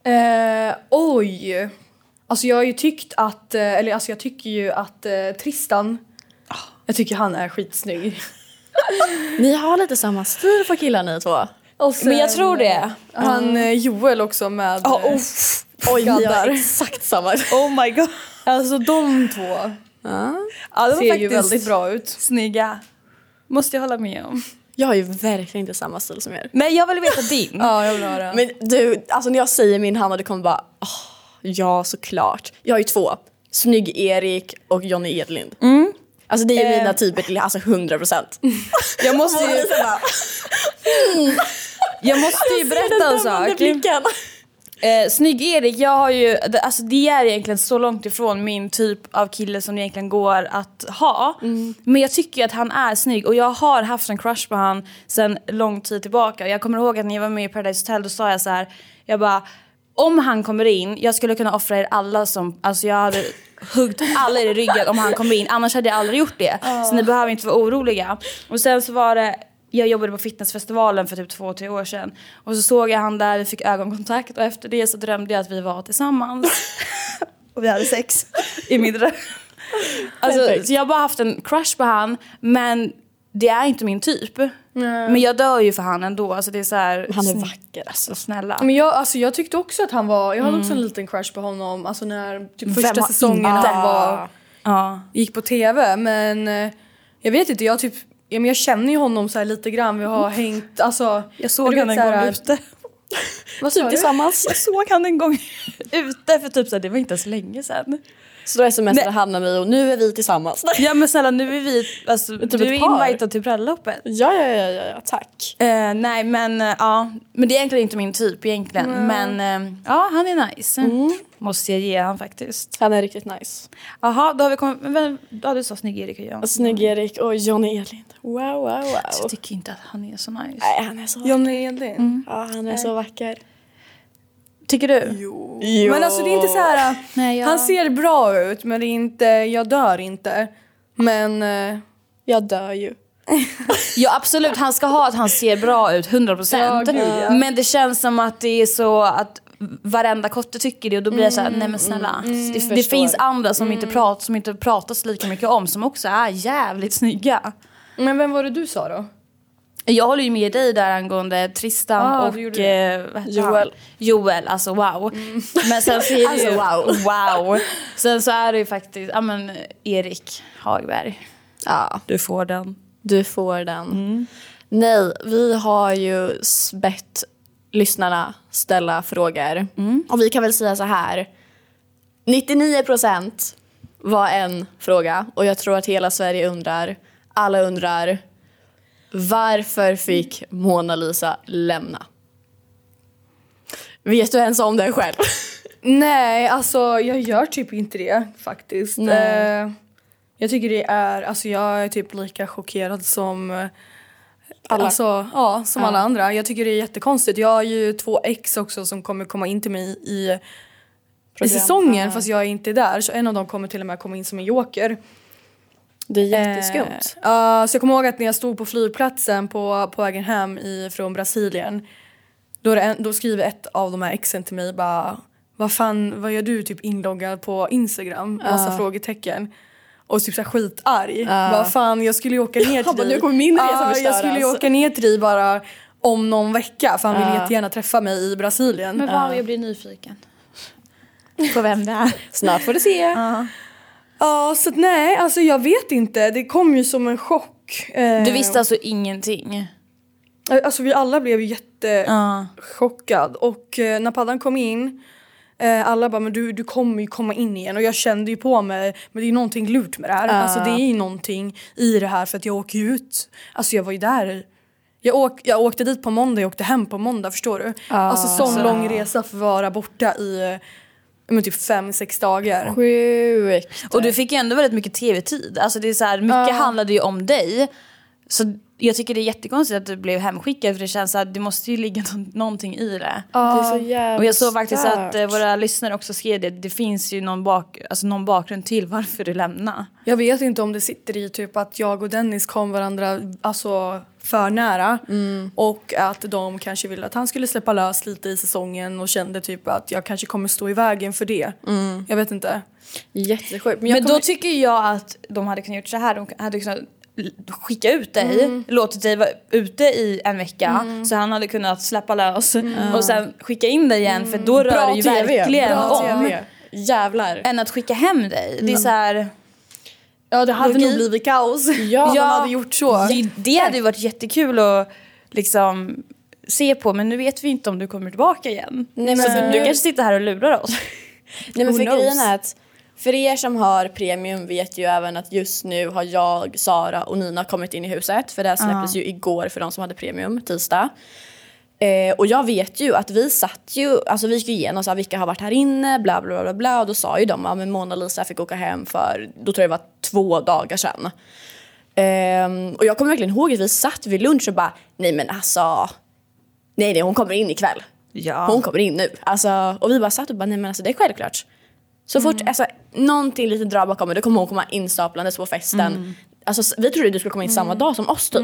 Speaker 1: Eh, oj. Alltså jag har ju tyckt att, eh, eller alltså jag tycker ju att eh, Tristan,
Speaker 3: Ah.
Speaker 1: jag tycker han är skitsnygg.
Speaker 2: Ni har lite samma stil på killar ni två.
Speaker 1: Och sen,
Speaker 3: Men jag tror det.
Speaker 1: Han eh, Joel också med.
Speaker 3: Ja,
Speaker 1: eh,
Speaker 3: oh,
Speaker 2: Oj, ni har
Speaker 1: Gaddar.
Speaker 2: exakt samma.
Speaker 3: oh my god.
Speaker 1: Alltså de två
Speaker 3: Ja, de var
Speaker 1: ser ju
Speaker 3: faktiskt
Speaker 1: väldigt bra ut.
Speaker 3: snygga. Måste jag hålla med om.
Speaker 2: Jag har ju verkligen inte samma stil som er.
Speaker 3: Men jag vill veta din.
Speaker 1: Ja, jag vill höra.
Speaker 2: Men du, alltså när jag säger min Hanna du kommer bara "Ah, ja såklart. Jag har ju två. Snygg Erik och Johnny Edlind. Alltså det är ju mina typer till alltså 100 procent.
Speaker 3: Jag måste ju, Mm. jag måste ju berätta en sak. Eh, snygg Erik, jag har ju, det- alltså det är egentligen så långt ifrån min typ av kille som det egentligen går att ha. Men jag tycker ju att han är snygg och jag har haft en crush på han sedan lång tid tillbaka. Jag kommer ihåg att när jag var med i Paradise Hotel då sa jag så här, jag bara om han kommer in, jag skulle kunna offra er alla som, alltså jag hade huggt alla er i ryggen om han kom in, annars hade jag aldrig gjort det. Så ni behöver inte vara oroliga. Och sen så var det jag jobbade på fitnessfestivalen för typ två, tre år sedan. Och så såg jag han där, vi fick ögonkontakt och efter det så drömde jag att vi var tillsammans. och vi hade sex i min dröm. Alltså,
Speaker 2: Perfekt.
Speaker 3: så jag har bara haft en crush på han, men det är inte min typ. Men jag dör ju för han ändå. Alltså det är så här,
Speaker 2: Han är
Speaker 3: sn-
Speaker 2: vacker alltså.
Speaker 3: Snälla.
Speaker 1: Men jag, alltså jag tyckte också att han var, jag hade också en
Speaker 3: Mm.
Speaker 1: liten crush på honom. Alltså när typ första
Speaker 3: har
Speaker 1: säsongen när
Speaker 3: inte?
Speaker 1: han var,
Speaker 3: Ja.
Speaker 1: gick på tv. Men eh, jag vet inte, jag typ, ja, men jag känner ju honom så här lite grann. Vi har hängt, alltså.
Speaker 3: Jag
Speaker 1: men
Speaker 3: såg
Speaker 1: du vet
Speaker 3: honom
Speaker 1: så
Speaker 3: en gång
Speaker 1: här-
Speaker 3: ute.
Speaker 1: Vad
Speaker 2: Typ tillsammans.
Speaker 3: Jag såg han en gång ute för typ så här, det var inte ens länge sedan.
Speaker 2: Så då smsade Hanna mig och nu är vi tillsammans.
Speaker 3: Ja men snälla nu är vi, alltså,
Speaker 2: Typ
Speaker 3: du
Speaker 2: ett par.
Speaker 3: är invitad till bröllopet.
Speaker 2: Ja, ja, ja, ja, ja tack.
Speaker 3: Eh, nej men eh, ja, men det är egentligen inte min typ egentligen. Men eh, ja han är nice. Måste jag ge han faktiskt.
Speaker 2: Han är riktigt nice.
Speaker 3: Jaha då har vi kommit, men vem, ja du sa snygg Erik och jag.
Speaker 2: Alltså, Snygg Erik och Johnny Elin. Wow, wow,
Speaker 3: Alltså,
Speaker 2: wow.
Speaker 3: jag tycker inte att han är så nice.
Speaker 2: Nej, han är så vacker.
Speaker 1: Johnny Edlin?
Speaker 2: Ja, han är så vacker.
Speaker 3: Tycker du?
Speaker 1: Jo. Men alltså det är inte så här.
Speaker 3: Nej, jag-
Speaker 1: Han ser bra ut men det är inte, jag dör inte. Men eh,
Speaker 2: Jag dör ju.
Speaker 3: Ja absolut, han ska ha att han ser bra ut 100%. Men det känns som att det är så att varenda kotte tycker det och då blir jag såhär, nej men snälla. det
Speaker 2: förstår.
Speaker 3: finns andra som, inte prat, som inte pratas lika mycket om som också är jävligt snygga.
Speaker 1: Men vem var det du sa då?
Speaker 3: Jag håller ju med dig där angående Tristan
Speaker 1: Ah,
Speaker 3: och
Speaker 1: du gjorde
Speaker 3: eh, vad heter han?
Speaker 2: Joel.
Speaker 3: Joel, alltså wow. Men sen så är det ju, wow. wow. Sen så är det ju faktiskt, ja men Erik Hagberg.
Speaker 2: Ja,
Speaker 3: Du får den. Mm.
Speaker 2: du får den. Nej, vi har ju s- bett lyssnarna ställa frågor.
Speaker 3: Mm.
Speaker 2: Och vi kan väl säga så här. 99 procent var en fråga och jag tror att hela Sverige undrar, alla undrar varför fick Mona Lisa lämna? Vet du ens om det själv?
Speaker 1: Nej, alltså jag gör typ inte det faktiskt.
Speaker 2: Nej.
Speaker 1: Eh, jag tycker det är, alltså jag är typ lika chockerad som eh,
Speaker 2: Alla.
Speaker 1: Alltså, ja, som alla andra. Jag tycker det är jättekonstigt. Jag har ju två ex också som kommer komma in till mig i, i säsongen fast jag är inte där. Så en av dem kommer till och med komma in som en joker.
Speaker 2: Det är
Speaker 1: Eh, Ja, så jag kommer ihåg att när jag stod på flygplatsen på, på vägen hem i, från Brasilien då, är det en, då skriver ett av de här exen till mig bara vad fan, vad gör du typ inloggad på Instagram? Massa frågetecken. Och typ såhär skitarg. Bara fan jag skulle ju åka ner till
Speaker 2: bara,
Speaker 1: dig.
Speaker 2: nu kommer min resa
Speaker 1: Ja, Jag
Speaker 2: förstöras.
Speaker 1: skulle ju åka ner till dig bara om någon vecka för han vill jättegärna träffa mig i Brasilien.
Speaker 3: Men wow, jag blir nyfiken. På vem det är.
Speaker 2: Eh, Snart får du se.
Speaker 1: Ja så att, nej alltså jag vet inte. Det kom ju som en chock. Eh,
Speaker 3: Du visste alltså ingenting?
Speaker 1: Alltså vi alla blev ju jättechockad och eh, när paddan kom in eh, alla bara men du, du kommer ju komma in igen och jag kände ju på mig men det är någonting lurt med det här. Alltså det är ju någonting i det här för att jag åker ju ut. Alltså jag var ju där. Jag, åk, jag åkte dit på måndag, jag åkte hem på måndag förstår du. alltså sån lång resa för att vara borta i eh, men typ fem, sex dagar.
Speaker 2: Sjukt.
Speaker 3: Och du fick ju ändå väldigt mycket tv-tid. Alltså det är så här, mycket handlade ju om dig. Så jag tycker det är jättekonstigt att du blev hemskickad för det känns att det måste ju ligga nå- någonting i det.
Speaker 2: Det är så jävla
Speaker 3: Och jag såg faktiskt att eh,
Speaker 2: stört.
Speaker 3: våra lyssnare också skrev det, det finns ju någon, bak, alltså någon bakgrund till varför du lämnade.
Speaker 1: Jag vet inte om det sitter i typ att jag och Dennis kom varandra alltså, för nära
Speaker 3: Mm.
Speaker 1: och att de kanske ville att han skulle släppa lös lite i säsongen och kände typ att jag kanske kommer stå i vägen för det.
Speaker 3: Mm.
Speaker 1: Jag vet inte.
Speaker 2: Jättesjukt. Men
Speaker 3: Men,
Speaker 2: jag kommer...
Speaker 3: då tycker jag att de hade kunnat gjort så här. De hade kunnat l- skicka ut dig,
Speaker 2: Mm.
Speaker 3: låtit dig vara ute i en vecka så han hade kunnat släppa lös
Speaker 2: Mm.
Speaker 3: och sen skicka in dig igen för då rör det ju verkligen
Speaker 2: Bra
Speaker 3: om.
Speaker 2: TV. Jävlar.
Speaker 3: Än att skicka hem dig. Det är så här,
Speaker 1: Ja det hade
Speaker 3: Logik.
Speaker 1: nog blivit kaos
Speaker 2: Ja,
Speaker 1: om de hade gjort så.
Speaker 3: Det, det hade ju varit jättekul att liksom se på men nu vet vi inte om du kommer tillbaka igen.
Speaker 2: Nej,
Speaker 3: Så
Speaker 2: men-
Speaker 3: du kanske sitter här och lurar oss.
Speaker 2: Nej, men
Speaker 3: Who
Speaker 2: för
Speaker 3: knows?
Speaker 2: grejen är att för er som har premium vet ju även att just nu har jag, Sara och Nina kommit in i huset för det här släpptes ju igår för de som hade premium, tisdag. Eh, och jag vet ju att vi satt ju, alltså vi gick ju igenom så här, vilka har varit här inne, bla bla bla bla och då sa ju de att men Mona Lisa fick åka hem för, då tror jag det var två dagar sedan. Ehm, och jag kommer verkligen ihåg att vi satt vid lunch och bara, nej men alltså, nej nej hon kommer in ikväll.
Speaker 3: Ja.
Speaker 2: Hon kommer in nu. Alltså, och vi bara satt och bara, nej men alltså det är självklart. Så fort alltså, någonting litet drama kommer, då kommer hon komma instaplandes på festen. Alltså, s- vi trodde du skulle komma in samma dag som oss typ.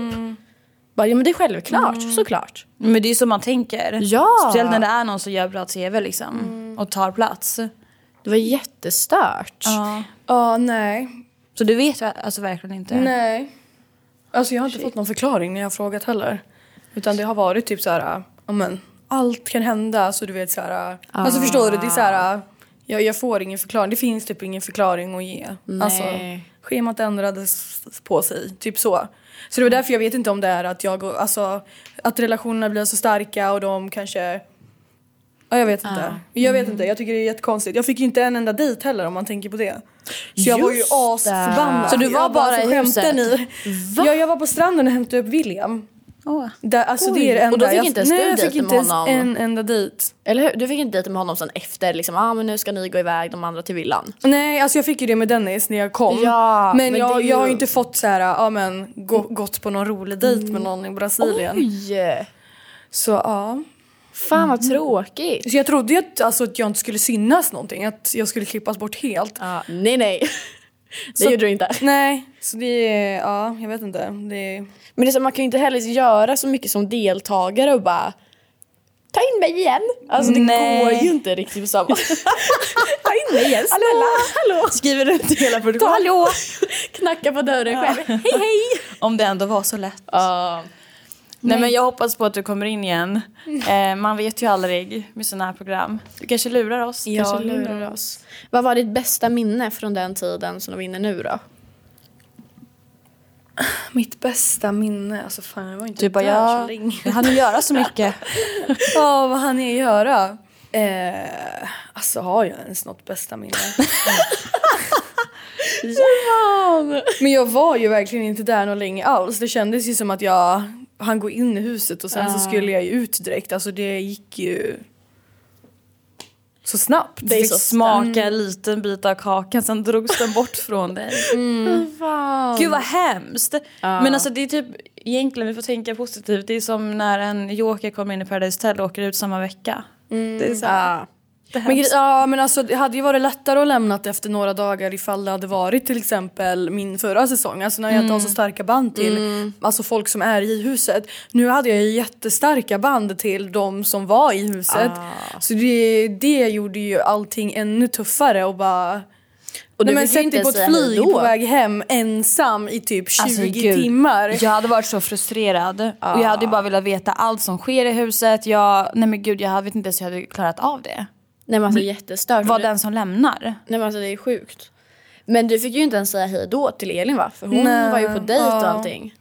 Speaker 2: Bara, ja men det är självklart, såklart.
Speaker 3: Men det är ju så man tänker.
Speaker 2: Ja. Mm.
Speaker 3: Speciellt när det är någon som gör bra tv liksom och tar plats.
Speaker 2: Det var jättestört.
Speaker 1: Ja nej.
Speaker 3: Så du vet ju alltså verkligen inte.
Speaker 1: Nej. Alltså jag har inte fått någon förklaring när jag har frågat heller. Utan det har varit typ så här, ja men allt kan hända så du vet så här. Alltså förstår du det är så här jag, jag får ingen förklaring. Det finns typ ingen förklaring att ge. Alltså schemat ändrades på sig, typ så. Så det var därför jag vet inte om det är att jag och- alltså att relationerna blir så starka och de kanske Ja, jag vet
Speaker 2: Ah.
Speaker 1: inte. Jag
Speaker 2: Mm.
Speaker 1: vet inte, jag tycker det är jättekonstigt. Jag fick ju inte en enda dejt heller om man tänker på det. Så jag var ju
Speaker 2: Just det.
Speaker 1: asförbannad.
Speaker 2: Så du var
Speaker 1: jag
Speaker 2: bara
Speaker 1: så
Speaker 2: i
Speaker 1: skämtar
Speaker 2: huset?
Speaker 1: Ni? Ja, jag var på stranden och hämtade upp William. Där, alltså det är det
Speaker 2: Och då
Speaker 1: enda.
Speaker 2: fick
Speaker 1: jag,
Speaker 2: inte ens
Speaker 1: nej,
Speaker 2: du
Speaker 1: jag
Speaker 2: dejt
Speaker 1: fick inte
Speaker 2: med
Speaker 1: ens
Speaker 2: honom?
Speaker 1: en enda dejt.
Speaker 2: Eller hur? Du fick inte dejta med honom sen efter liksom, ah, men nu ska ni gå iväg de andra till villan.
Speaker 1: Nej, alltså jag fick ju det med Dennis när jag kom.
Speaker 2: Ja,
Speaker 1: men
Speaker 2: men
Speaker 1: jag,
Speaker 2: det är
Speaker 1: jag har
Speaker 2: ju-
Speaker 1: ju inte fått så här, ja men gå, gått på någon rolig dejt med någon i Brasilien.
Speaker 2: Oj!
Speaker 1: Så ja.
Speaker 2: Fan vad tråkigt.
Speaker 1: Så jag trodde ju att, alltså, att jag inte skulle synas någonting, att jag skulle klippas bort helt.
Speaker 2: Ja, nej nej. Det gjorde du inte.
Speaker 1: Nej, så det är, ja jag vet inte. Det är...
Speaker 2: Men det är så, man kan ju inte heller göra så mycket som deltagare och bara Ta in mig igen! Alltså det
Speaker 3: Nej.
Speaker 2: går ju inte riktigt på samma Ta in mig igen, hallå, hallå. Skriver du till hela produktionen. Hallå! Knacka på dörren själv. Hej hej!
Speaker 3: Om det ändå var så lätt.
Speaker 2: Ja.
Speaker 3: Nej men jag hoppas på att du kommer in igen. Eh, man vet ju aldrig med sådana här program. Du kanske lurar oss.
Speaker 2: Ja, lurar oss. Vad var ditt bästa minne från den tiden som de är inne nu då?
Speaker 1: Mitt bästa minne, alltså fan jag var inte
Speaker 3: Du bara,
Speaker 1: där
Speaker 3: jag,
Speaker 1: så länge.
Speaker 3: jag hann ju göra så mycket.
Speaker 1: Ja, vad han är göra? Eh, alltså har jag ens något bästa minne? ja. Men jag var ju verkligen inte där någon länge alls. Det kändes ju som att jag han gå in i huset och sen
Speaker 2: Ah.
Speaker 1: så skulle jag ju ut direkt. Alltså det gick ju så snabbt.
Speaker 3: Du fick
Speaker 1: så
Speaker 3: smaka en liten bit av kakan, sen drogs den bort från dig. Mm. Gud vad hemskt! Men alltså det är typ, egentligen vi får tänka positivt, det är som när en joker kommer in i Paradise Hotel och åker ut samma vecka. Det är så här, det är
Speaker 1: Men, gre-
Speaker 3: hemskt.
Speaker 1: ja, men alltså, det hade ju varit lättare att lämna efter några dagar ifall det hade varit till exempel min förra säsong. Alltså när jag inte har så starka band till alltså, folk som är i huset. Nu hade jag ju jättestarka band till de som var i huset. Så det, det gjorde ju allting ännu tuffare och bara
Speaker 2: Och
Speaker 1: Nej, men sätt dig på ett flyg på väg hem ensam i typ 20
Speaker 3: Alltså, gud.
Speaker 1: timmar.
Speaker 3: Jag hade varit så frustrerad och jag hade ju bara velat veta allt som sker i huset. Jag, nej men gud jag vet inte ens hur jag hade klarat av det.
Speaker 2: Nej men alltså jättestört.
Speaker 3: Var den som lämnar.
Speaker 2: Nej men alltså det är sjukt. Men du fick ju inte ens säga hej då till Elin va? För hon
Speaker 1: Nej.
Speaker 2: var ju på dejt och
Speaker 1: Ja.
Speaker 2: allting.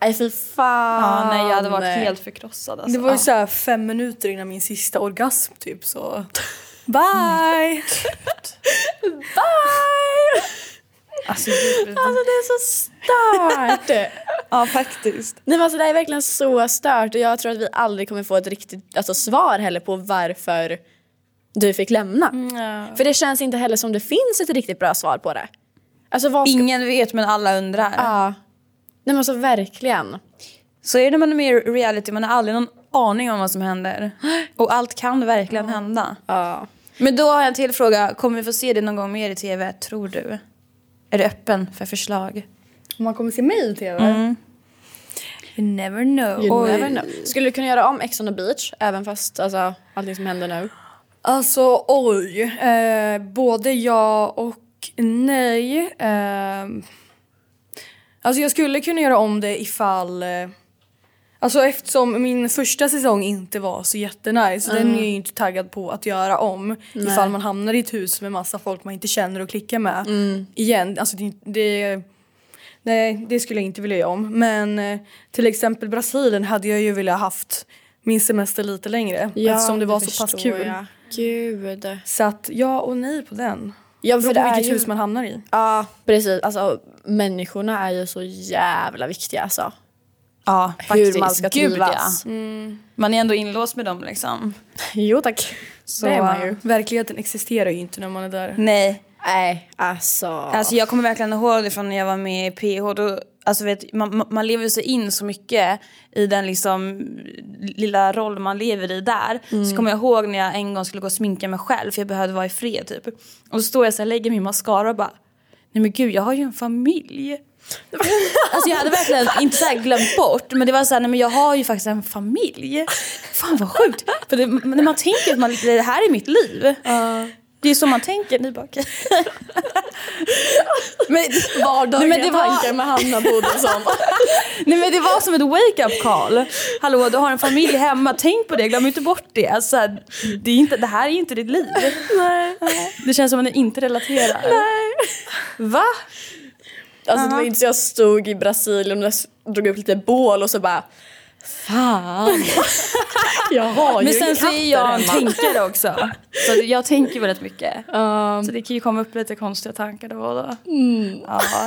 Speaker 2: Nej fy fan.
Speaker 3: Ja, Ah, nej, jag hade varit helt förkrossad alltså.
Speaker 1: Det var ju så här fem minuter innan min sista orgasm typ så bye!
Speaker 3: Alltså, gud.
Speaker 2: Alltså det är så stört.
Speaker 3: ja faktiskt.
Speaker 2: nej men alltså det är verkligen så stört och jag tror att vi aldrig kommer få ett riktigt alltså, svar heller på varför du fick lämna. För det känns inte heller som det finns ett riktigt bra svar på det. Alltså vad ska...
Speaker 3: Ingen vet men alla undrar.
Speaker 2: Ja. Nej men alltså verkligen.
Speaker 3: Så är det när man är med i reality, man har aldrig någon aning om vad som händer. Och allt kan verkligen hända.
Speaker 2: Ja.
Speaker 3: Men då har jag en till fråga, kommer vi få se det någon gång mer i tv, tror du? Är du öppen för förslag?
Speaker 1: Om man kommer se mig i tv?
Speaker 3: You never know.
Speaker 2: You never know. Skulle du kunna göra om Ex on the beach även fast alltså, allting som händer nu?
Speaker 1: Alltså oj, eh, både ja och nej. Eh, alltså jag skulle kunna göra om det ifall eh, Alltså eftersom min första säsong inte var så jättenice, den är jag ju inte taggad på att göra om ifall man hamnar i ett hus med massa folk man inte känner och klickar med igen. Alltså det, det, nej, det skulle jag inte vilja göra om. Men eh, till exempel Brasilien hade jag ju velat haft min semester lite längre
Speaker 2: Alltså,
Speaker 1: eftersom det var så pass kul.
Speaker 2: Gud.
Speaker 1: Så att ja och nej på den.
Speaker 2: Ja,
Speaker 1: Det beror
Speaker 2: för det
Speaker 1: på
Speaker 2: är
Speaker 1: vilket
Speaker 2: ju...
Speaker 1: hus man hamnar i.
Speaker 2: Ja, precis. Alltså, människorna är ju så jävla viktiga alltså.
Speaker 3: Ja,
Speaker 2: Hur man ska
Speaker 3: Gud,
Speaker 2: trivas.
Speaker 3: ja. Man är ändå inlåst med dem liksom.
Speaker 2: Jo tack.
Speaker 3: Så...
Speaker 2: Det är man ju.
Speaker 1: Verkligheten existerar ju inte när man är där.
Speaker 3: Nej,
Speaker 2: Nej, alltså.
Speaker 3: Alltså jag kommer verkligen ihåg det från när jag var med i PH. Då, alltså vet, man, man- man lever sig in så mycket i den liksom lilla roll man lever i där. Så kommer jag ihåg när jag en gång skulle gå och sminka mig själv för jag behövde vara i fred typ. Och så står jag så här, lägger min mascara och bara Nej men gud jag har ju en familj. Alltså jag hade verkligen inte så här glömt bort men det var så här, nej men jag har ju faktiskt en familj. Fan vad sjukt. För det, när man tänker att man, det här är mitt liv. Det är så man tänker, ni bara okej. Men,
Speaker 2: Vardagliga
Speaker 3: Nej, men det var-
Speaker 2: tankar med Hanna Bodilsson.
Speaker 3: Nej men det var som ett wake-up call. Hallå du har en familj hemma, tänk på det, glöm inte bort det. Alltså, det, är inte, det här är ju inte ditt liv. Nej. Det känns som att ni inte relaterar. Nej. Va?
Speaker 2: alltså det var inte så jag stod i Brasilien och drog upp lite bål och så bara
Speaker 3: Fan.
Speaker 1: Jag har
Speaker 3: Men
Speaker 1: ju
Speaker 3: sen så är
Speaker 1: katter
Speaker 3: jag en
Speaker 1: hemma.
Speaker 3: tänkare också. Så det- jag tänker väldigt mycket.
Speaker 2: Um.
Speaker 3: Så det kan ju komma upp lite konstiga tankar då och då. Ja,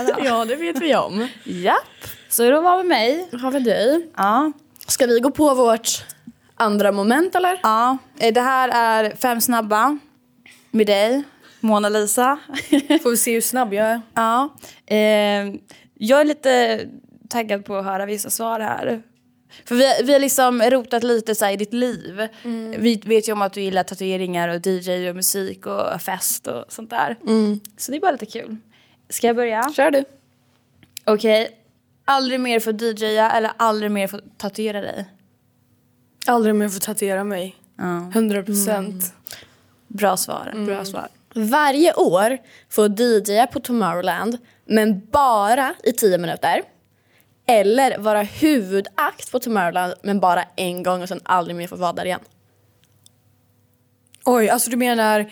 Speaker 3: då.
Speaker 2: Mm. Ja, det vet vi om.
Speaker 3: Japp. Så då var vi mig.
Speaker 2: Har vi dig.
Speaker 3: Ja.
Speaker 2: Ska vi gå på vårt andra moment eller?
Speaker 3: ja. Eh, Det här är Fem snabba. Med dig, Mona Lisa.
Speaker 1: Får vi se hur snabb jag är.
Speaker 3: Ja. Eh, jag är lite taggad på att höra vissa svar här. För vi, vi har liksom rotat lite så här i ditt liv.
Speaker 1: Mm.
Speaker 3: Vi vet ju om att du gillar tatueringar och DJ och musik och fest och sånt där.
Speaker 1: Mm.
Speaker 3: Så det är bara lite kul. Ska jag börja?
Speaker 2: Kör du.
Speaker 3: Okej. Aldrig mer få DJa eller aldrig mer få tatuera dig?
Speaker 1: Aldrig mer får tatuera mig. Mm. 100 procent.
Speaker 3: Bra svar.
Speaker 1: Mm.
Speaker 3: Bra svar.
Speaker 2: Varje år får DJa på Tomorrowland, men bara i tio minuter. Eller vara huvudakt på Tomorrowland, men bara en gång och sen aldrig mer få vara där igen.
Speaker 1: Oj, alltså du menar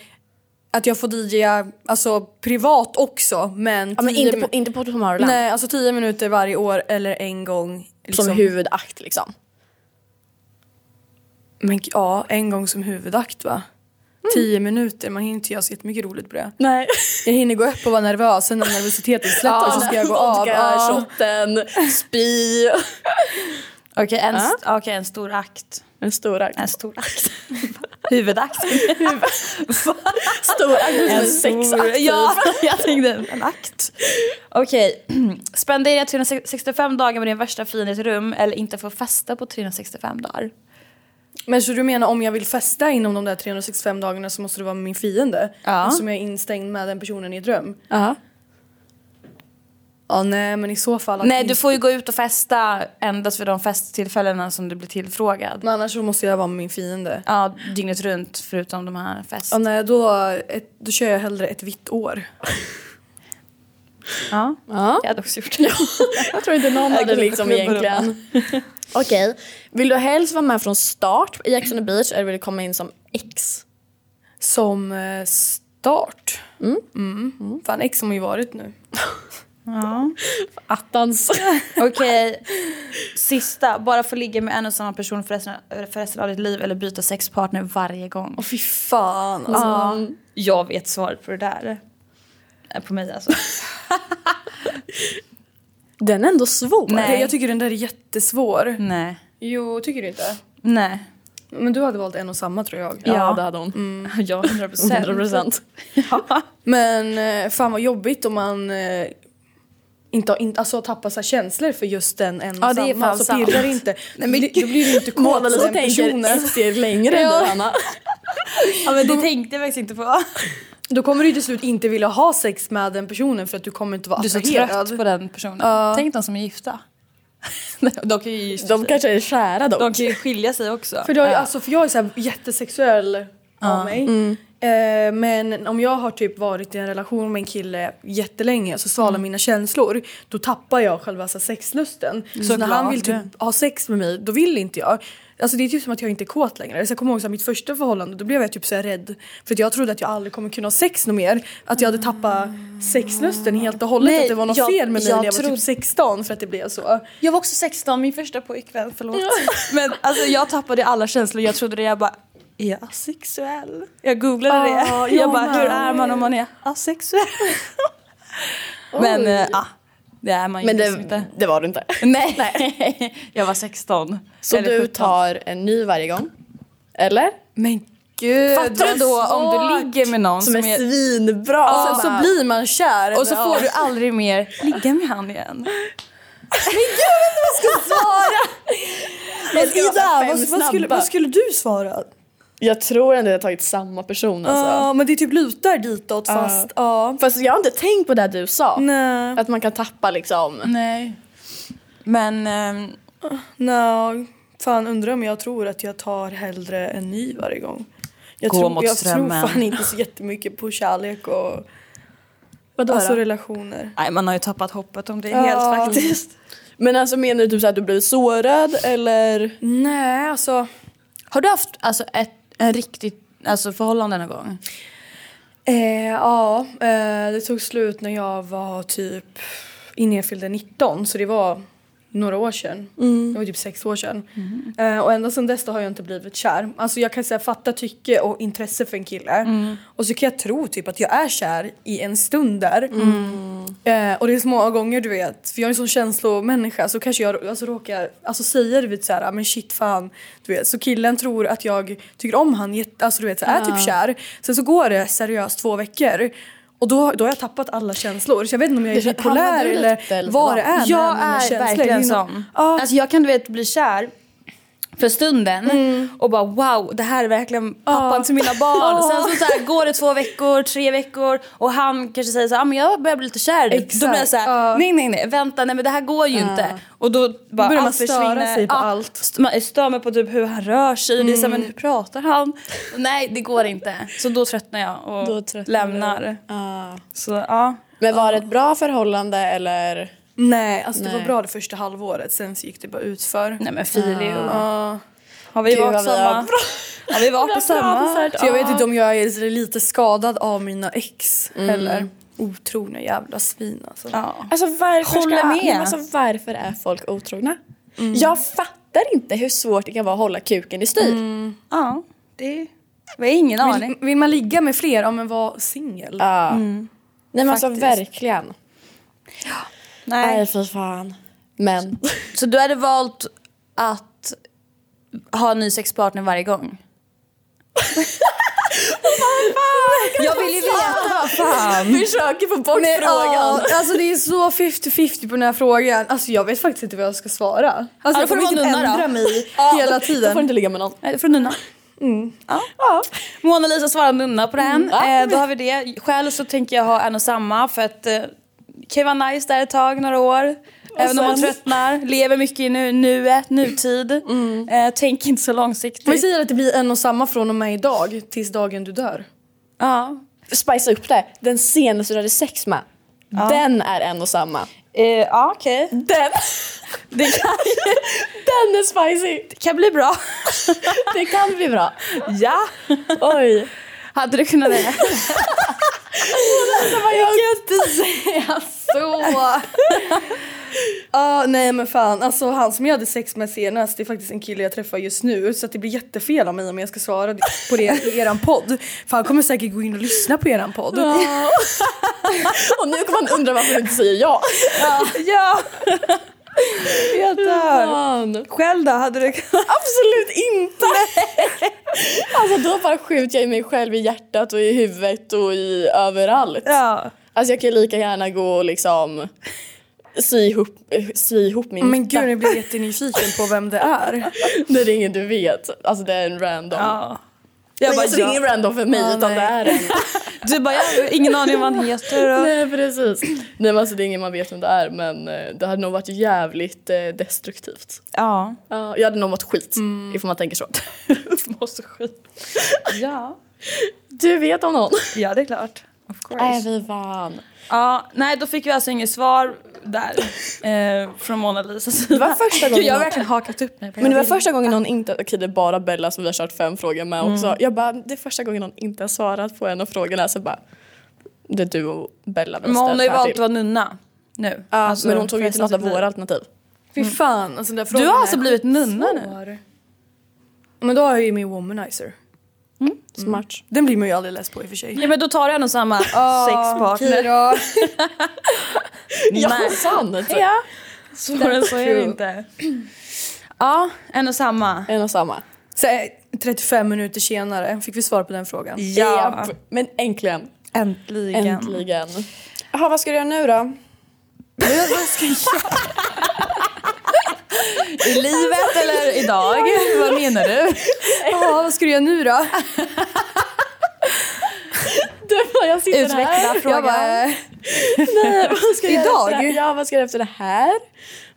Speaker 1: att jag får DJa alltså, privat också men...
Speaker 2: Ja, men
Speaker 1: tio
Speaker 2: inte på,
Speaker 1: min-
Speaker 2: inte på Tomorrowland.
Speaker 1: Nej, alltså tio minuter varje år eller en gång.
Speaker 2: Som
Speaker 1: liksom.
Speaker 2: huvudakt liksom.
Speaker 1: Men g- ja, en gång som huvudakt va? Tio minuter, man hinner inte göra så jättemycket roligt på det.
Speaker 2: Nej.
Speaker 1: Jag hinner gå upp och vara nervös, sen när nervositeten släpper så ska jag gå av.
Speaker 2: Vodka,
Speaker 1: Ja.
Speaker 2: shotten, spy.
Speaker 3: Okej, en, st- okej, en stor akt.
Speaker 2: En stor akt.
Speaker 3: En stor akt. Huvudakt.
Speaker 2: Stor akt. En sexakt.
Speaker 3: Ja, jag tänkte en akt. Okej. Spendera 365 dagar med din värsta fiende i ett rum eller inte få festa på 365 dagar.
Speaker 1: Men så du menar om jag vill festa inom de där 365 dagarna så måste det vara med min fiende? Alltså,
Speaker 3: Ja.
Speaker 1: Som jag är instängd med den personen i ett rum? Ja nej men i så fall att
Speaker 3: Nej, du
Speaker 1: inte-
Speaker 3: får ju gå ut och festa endast vid de festtillfällena som du blir tillfrågad.
Speaker 1: Men annars så måste jag vara med min fiende.
Speaker 3: Ja, dygnet runt förutom de här fest.
Speaker 1: Ja, nej, då, ett, då kör jag hellre ett vitt år.
Speaker 3: Ja.
Speaker 2: Ja.
Speaker 3: Jag hade också gjort det.
Speaker 2: Jag tror inte någon hade
Speaker 3: kunde
Speaker 2: liksom
Speaker 3: klubba dem.
Speaker 2: egentligen. Okej, vill du helst vara med från start i Ex on the beach eller vill du komma in som ex?
Speaker 1: Som eh, start. Mm. Fan ex har man ju varit nu.
Speaker 3: Ja.
Speaker 2: Attans.
Speaker 3: Okej, sista. Bara få ligga med en och samma person för resten, för resten av ditt liv eller byta sexpartner varje gång.
Speaker 1: Åh fy fan alltså.
Speaker 3: Ja, jag vet svaret på det där. Eh, På mig alltså.
Speaker 2: Den är ändå svår.
Speaker 3: Nej.
Speaker 1: Jag tycker den där är jättesvår.
Speaker 3: Nej.
Speaker 1: Jo, tycker du inte?
Speaker 3: Nej.
Speaker 1: Men du hade valt en och samma tror jag.
Speaker 2: Ja,
Speaker 3: Ja.
Speaker 2: det hade hon. Mm.
Speaker 3: Ja, 100 procent.
Speaker 2: 100 procent.
Speaker 1: Men eh, fan vad jobbigt om man eh, inte har, in, alltså tappar sig känslor för just den en och
Speaker 3: Ja, det är
Speaker 1: samma.
Speaker 3: fan
Speaker 1: Alltså
Speaker 3: sant.
Speaker 1: pirrar det inte. Nej, men, då blir du inte kåt
Speaker 2: Mona
Speaker 1: på
Speaker 2: Lisa
Speaker 1: den
Speaker 2: tänker
Speaker 1: personen.
Speaker 2: ett steg längre än du Anna.
Speaker 3: Ja, men det tänkte jag faktiskt inte på.
Speaker 1: Då kommer du till slut inte vilja ha sex med den personen för att du kommer inte vara
Speaker 3: Du är så
Speaker 1: attraherad.
Speaker 3: trött på den personen. Tänk de som är gifta. de kan ju
Speaker 2: De kanske är kära dock.
Speaker 3: de kan ju skilja sig också.
Speaker 1: För, då, alltså, för jag är så här jättesexuell av mig.
Speaker 3: Mm.
Speaker 1: Eh, men om jag har typ varit i en relation med en kille jättelänge så
Speaker 3: Mm.
Speaker 1: svalar mina känslor. Då tappar jag själva så här, sexlusten. Så när han vill typ ha sex med mig då vill inte jag. Alltså det är typ som att jag inte är kåt längre. Så jag kommer ihåg så här, mitt första förhållande då blev jag typ så här rädd. För att jag trodde att jag aldrig kommer kunna ha sex något mer. Att jag hade tappat sexlusten helt och hållet.
Speaker 3: Ah. Nej,
Speaker 1: att det var något
Speaker 3: jag-
Speaker 1: fel med mig
Speaker 3: jag
Speaker 1: när jag var
Speaker 3: trodde-
Speaker 1: typ 16 för att det blev så.
Speaker 3: Jag var också 16, min första pojkvän, förlåt. Men alltså, jag tappade alla känslor, jag trodde det, jag bara är jag asexuell? Jag googlade det.
Speaker 1: Ah,
Speaker 3: jag
Speaker 1: jag
Speaker 3: bara,
Speaker 1: med.
Speaker 3: hur är man om man är asexuell? Men eh, ah, det är man ju
Speaker 2: Men
Speaker 3: liksom
Speaker 2: det,
Speaker 3: inte.
Speaker 2: det var du inte.
Speaker 3: Nej. jag var 16.
Speaker 2: Så
Speaker 3: Eller
Speaker 2: du
Speaker 3: 17.
Speaker 2: tar en ny varje gång? Eller?
Speaker 1: Men gud
Speaker 3: Fattar du då om du ligger med någon som,
Speaker 2: Som är
Speaker 3: är
Speaker 2: svinbra. Alltså,
Speaker 1: Och sen så blir man kär.
Speaker 3: och så
Speaker 1: Ja.
Speaker 3: får du aldrig mer ligga med han igen.
Speaker 2: Men Ida,
Speaker 1: vad, vad, skulle, vad skulle du svara?
Speaker 2: Jag tror ändå jag har tagit samma person alltså.
Speaker 1: Ja, men det typ lutar ditåt fast ja.
Speaker 2: Fast jag har inte tänkt på det du sa.
Speaker 1: Nej.
Speaker 2: Att man kan tappa liksom.
Speaker 3: Nej. Men ehm,
Speaker 1: Nej, fan undrar om jag tror att jag tar hellre en ny varje gång. Jag,
Speaker 3: Gå
Speaker 1: tror,
Speaker 3: mot
Speaker 1: jag
Speaker 3: strömmen.
Speaker 1: tror fan inte så jättemycket på kärlek och
Speaker 2: Vadå
Speaker 1: alltså
Speaker 2: då?
Speaker 1: relationer.
Speaker 3: nej, man har ju tappat hoppet om det
Speaker 1: Ja.
Speaker 3: helt faktiskt.
Speaker 2: Men alltså menar du typ så att du blev sårad eller?
Speaker 1: Nej, alltså.
Speaker 3: Har du haft alltså, ett en riktigt alltså, förhållande någon gång?
Speaker 1: Eh, ja, eh, det tog slut när jag var typ innan jag fyllde 19 så det var några år sedan. Det var typ sex år sedan. Eh, och ända sedan dess då har jag inte blivit kär. Alltså jag kan säga fatta tycke och intresse för en kille. Och så kan jag tro typ att jag är kär i en stund där. Eh, och det är så många gånger du vet, för jag är en sån känslomänniska så kanske jag alltså, råkar alltså, säga det vid så här, men shit fan. Du vet. Så killen tror att jag tycker om han, jätte- alltså du vet så här, är typ kär. Sen så går det seriöst två veckor. Och då, då har jag tappat alla känslor så jag vet inte om jag är
Speaker 2: Det handlar
Speaker 1: bipolär
Speaker 2: du
Speaker 1: eller
Speaker 2: lite, eller
Speaker 1: vad
Speaker 2: vad?
Speaker 1: det är med
Speaker 3: Jag
Speaker 1: mina
Speaker 3: är
Speaker 1: känslor.
Speaker 3: verkligen
Speaker 1: Det är någon-
Speaker 3: sån.
Speaker 1: Ja.
Speaker 3: Alltså jag kan du vet bli kär för stunden
Speaker 1: Mm.
Speaker 3: och bara wow det här är verkligen pappan till mina barn. Sen så, så här, går det två veckor, tre veckor och han kanske säger så här, ah, men jag börjar bli lite kär i dig." Då
Speaker 1: Exakt.
Speaker 3: blir jag så här,
Speaker 1: Ja.
Speaker 3: nej nej nej vänta nej men det här går ju inte. Och då bara
Speaker 1: börjar man
Speaker 3: allt
Speaker 1: störa
Speaker 3: försvinner.
Speaker 1: sig på
Speaker 3: Ja,
Speaker 1: allt. Mm.
Speaker 3: st- Man stör mig på typ hur han rör sig, det är så här, men hur pratar han? nej det går inte. Så då tröttnar jag och
Speaker 2: Då tröttnar du.
Speaker 3: lämnar. Så ja.
Speaker 2: Men var det ett bra förhållande eller?
Speaker 1: Nej, alltså det var
Speaker 2: Nej.
Speaker 1: bra det första halvåret sen så gick det bara utför.
Speaker 3: Nej men Filio.
Speaker 1: Ja.
Speaker 3: Har vi
Speaker 2: Gud,
Speaker 3: varit
Speaker 2: vad vi har
Speaker 3: samma? Har vi varit på
Speaker 1: Så
Speaker 3: samma?
Speaker 1: jag vet inte om jag är lite skadad av mina ex
Speaker 2: Mm.
Speaker 1: heller. Otrogna jävla svin alltså.
Speaker 3: Ja.
Speaker 2: Alltså varför
Speaker 3: Håller
Speaker 2: ska,
Speaker 3: med. Mm.
Speaker 2: Men Alltså, varför är folk otrogna? Jag fattar inte hur svårt det kan vara att hålla kuken i styr.
Speaker 3: Mm. ja, det var ingen
Speaker 1: Vill,
Speaker 3: aning.
Speaker 1: vill man ligga med fler, ja men var singel.
Speaker 2: Ja. Nej men alltså
Speaker 3: Mm. Faktiskt.
Speaker 2: verkligen. Nej
Speaker 3: Nej.
Speaker 2: fy fan. Men.
Speaker 3: Så du hade valt att ha en ny sexpartner varje gång? Jag vill ju
Speaker 1: Alltså,
Speaker 3: veta vad fan.
Speaker 2: Försöker få bort
Speaker 1: Men, ja, alltså det är så 50-50 på den här frågan. Alltså jag vet faktiskt inte vad jag ska svara. Alltså
Speaker 3: då får
Speaker 1: jag kommer
Speaker 3: du
Speaker 1: typ
Speaker 3: vara nunna då.
Speaker 1: ändra mig hela
Speaker 2: Då får du
Speaker 1: tiden.
Speaker 2: inte ligga med någon.
Speaker 3: Nej, Från nunna. Ja. Mona Lisa svarar nunna på den. Eh, då har vi det. Själv så tänker jag ha en och samma för att eh, det kan ju vara nice där ett tag, några år. Även om man
Speaker 2: sen-
Speaker 3: tröttnar, lever mycket i nu, nuet, nutid. Eh, tänk inte så långsiktigt.
Speaker 1: Vi säger att det blir en och samma från och med idag tills dagen du dör.
Speaker 3: Ja.
Speaker 2: Spicea upp det. Den senaste du hade sex med. Den är en och samma.
Speaker 3: Eh, ja, okej.
Speaker 2: Den!
Speaker 3: Det kan,
Speaker 2: Den är spicy!
Speaker 3: det kan bli bra.
Speaker 2: Det kan bli bra.
Speaker 3: ja.
Speaker 2: Oj.
Speaker 3: Hade du kunnat det?
Speaker 1: Så... Ja, nej men fan. Alltså han som jag hade sex med senast, det är faktiskt en kille jag träffar just nu. Så att det blir jättefel av mig om jag ska svara på det i eran podd. För han kommer säkert gå in och lyssna på eran podd.
Speaker 2: Och nu kommer man undra varför du inte säger ja.
Speaker 3: ja. Jag dör.
Speaker 2: Fan.
Speaker 3: Själv då? Hade du kunnat?
Speaker 2: Absolut inte! Alltså då bara skjuter jag i mig själv i hjärtat och i huvudet och i överallt.
Speaker 3: Ja.
Speaker 2: Alltså jag kan ju lika gärna gå och liksom sy ihop, sy ihop min
Speaker 1: Men gud jag blir jättenyfiken på vem det är.
Speaker 2: Det är ingen du vet. Alltså det är en random.
Speaker 3: ja.
Speaker 2: Jag bara, alltså, det är
Speaker 3: ja.
Speaker 2: ingen random för mig
Speaker 1: Ja,
Speaker 2: utan
Speaker 1: nej.
Speaker 2: det är en.
Speaker 3: Du bara, jag har ingen aning om vad han heter. Och...
Speaker 2: Nej precis. Nej men alltså det är ingen man vet vem det är men eh, det hade nog varit jävligt eh, destruktivt.
Speaker 3: Ja.
Speaker 2: Ja, jag hade nog mått skit ifall man tänker så.
Speaker 3: Måste skit. Ja.
Speaker 2: Du vet om någon?
Speaker 3: Ja, det är klart. Of course.
Speaker 2: Nej fy fan.
Speaker 3: Äh, Ja, nej, då fick vi alltså inget svar där eh, från Mona Lisa.
Speaker 2: Det var första gången
Speaker 3: Gud, jag har
Speaker 2: någon-
Speaker 3: verkligen hakat upp mig. på
Speaker 2: Men det var
Speaker 3: hela
Speaker 2: första gången någon inte, okej det är bara Bella som vi har kört fem frågor med också. Jag bara, det är första gången någon inte har svarat på en av frågorna så bara, det är du och Bella vi
Speaker 3: Men hon har ju
Speaker 2: ställt här
Speaker 3: valt att
Speaker 2: till.
Speaker 3: vara nunna nu. Alltså,
Speaker 2: Ja, men hon tog ju inte
Speaker 3: resten
Speaker 2: något av
Speaker 3: sitt liv.
Speaker 2: våra alternativ.
Speaker 1: Fy fan. Alltså, den där
Speaker 3: Mm.
Speaker 1: frågan
Speaker 3: Du har
Speaker 1: är
Speaker 3: alltså blivit nunna nu?
Speaker 1: skitsvår. Men då har jag ju min womanizer.
Speaker 2: Smart.
Speaker 1: Den blir man ju aldrig less på i och för sig.
Speaker 3: Ja men då tar jag en och samma sexpartner.
Speaker 1: då.
Speaker 2: Ja, sant!
Speaker 3: Ja. Svårare än så är det inte. Ja, en och samma.
Speaker 2: En och samma.
Speaker 1: Så, eh, 35 minuter senare fick vi svar på den frågan.
Speaker 3: Ja.
Speaker 2: Japp. Men äntligen.
Speaker 3: Äntligen.
Speaker 2: Äntligen. Jaha, vad ska du göra nu då?
Speaker 3: I livet eller idag? Vad menar du?
Speaker 1: Jaha, vad ska du göra nu då?
Speaker 2: Du bara, jag sitter här.
Speaker 3: Utveckla frågan.
Speaker 1: Jag bara, eh,
Speaker 2: Nej, vad ska jag göra
Speaker 1: Idag?
Speaker 2: efter det här? Ja, vad ska jag göra efter det här?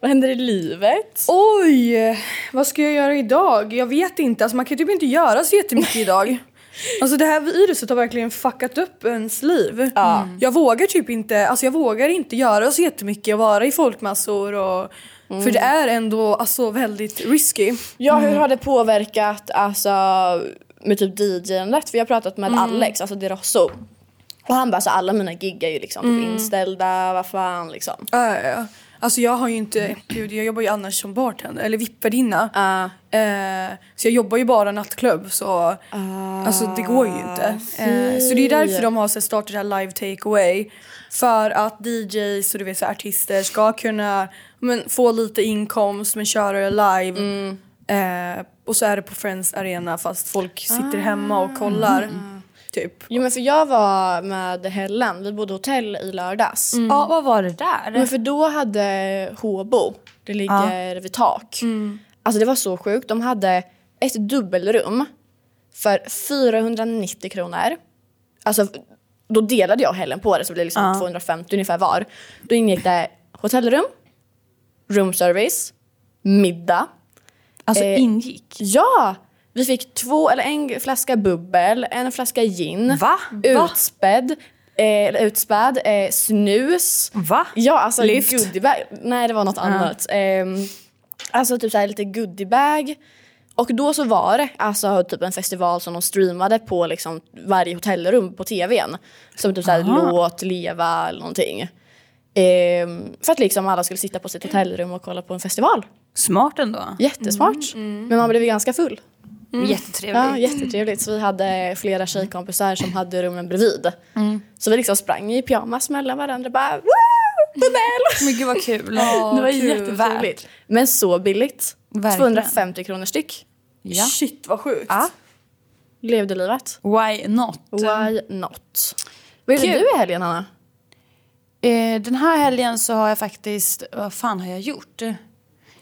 Speaker 2: Vad händer i livet?
Speaker 1: oj, vad ska jag göra idag? Jag vet inte, alltså, man kan typ inte göra så jättemycket idag. Alltså det här viruset har verkligen fuckat upp ens liv. Jag vågar typ inte, alltså jag vågar inte göra så jättemycket och vara i folkmassor och
Speaker 3: Mm.
Speaker 1: För det är ändå alltså, väldigt risky.
Speaker 2: Ja, hur har det påverkat alltså, med typ DJ-andet? För jag har pratat med Alex, alltså det Rosso. Och han bara, så alla mina gig är ju liksom typ inställda, vad fan liksom.
Speaker 1: Ja, ja, ja. Alltså jag har ju inte, gud jag jobbar ju annars som bartender eller vippvärdinna.
Speaker 2: Ah,
Speaker 1: Eh, så jag jobbar ju bara nattklubb så alltså det går ju inte. Eh, så det är därför de har så här, startat det här live takeaway. För att DJs och du vet så här, artister ska kunna men, få lite inkomst men köra det live. Eh, och så är det på Friends Arena fast folk sitter hemma och kollar. Typ.
Speaker 2: Jo men för jag var med Helen, vi bodde hotell i lördags.
Speaker 3: Mm.
Speaker 9: Ja, vad var det där?
Speaker 2: Men för då hade Håbo, det ligger vid tak. Alltså det var så sjukt. De hade ett dubbelrum för 490 kronor. Alltså då delade jag och Helen på det så det blev liksom 250 ungefär var. Då ingick det hotellrum, roomservice, middag.
Speaker 9: alltså
Speaker 2: eh,
Speaker 9: ingick?
Speaker 2: Ja! Vi fick två, eller en flaska bubbel, en flaska gin.
Speaker 9: Va?
Speaker 2: Utspädd, eh, eller utspädd, eh, snus.
Speaker 9: Va?
Speaker 2: Ja, alltså
Speaker 9: Lyft.
Speaker 2: goodiebag. Nej, det var något annat. Ehm, alltså typ så här lite goodiebag. Och då så var det alltså typ en festival som de streamade på liksom varje hotellrum på tvn. Som typ så här låt, leva eller någonting. Ehm, för att liksom alla skulle sitta på sitt hotellrum och kolla på en festival.
Speaker 9: Smart ändå.
Speaker 2: Jättesmart.
Speaker 9: Mm,
Speaker 2: Men man blev ju ganska full.
Speaker 9: Jättetrevligt.
Speaker 2: Ja, jättetrevligt. Mm. Så vi hade flera tjejkompisar som hade rummen bredvid. Så vi liksom sprang i pyjamas mellan varandra bara Woo! Bubbel!
Speaker 9: Men gud vad kul.
Speaker 2: det var
Speaker 9: kul.
Speaker 2: jättetrevligt. Men så billigt.
Speaker 9: Verkligen.
Speaker 2: 250 kronor styck.
Speaker 9: Ja.
Speaker 1: Shit vad sjukt.
Speaker 2: Levde livet.
Speaker 9: Why not?
Speaker 2: Why not? Vad gjorde du i helgen Hanna?
Speaker 9: Eh, den här helgen så har jag faktiskt... Vad fan har jag gjort?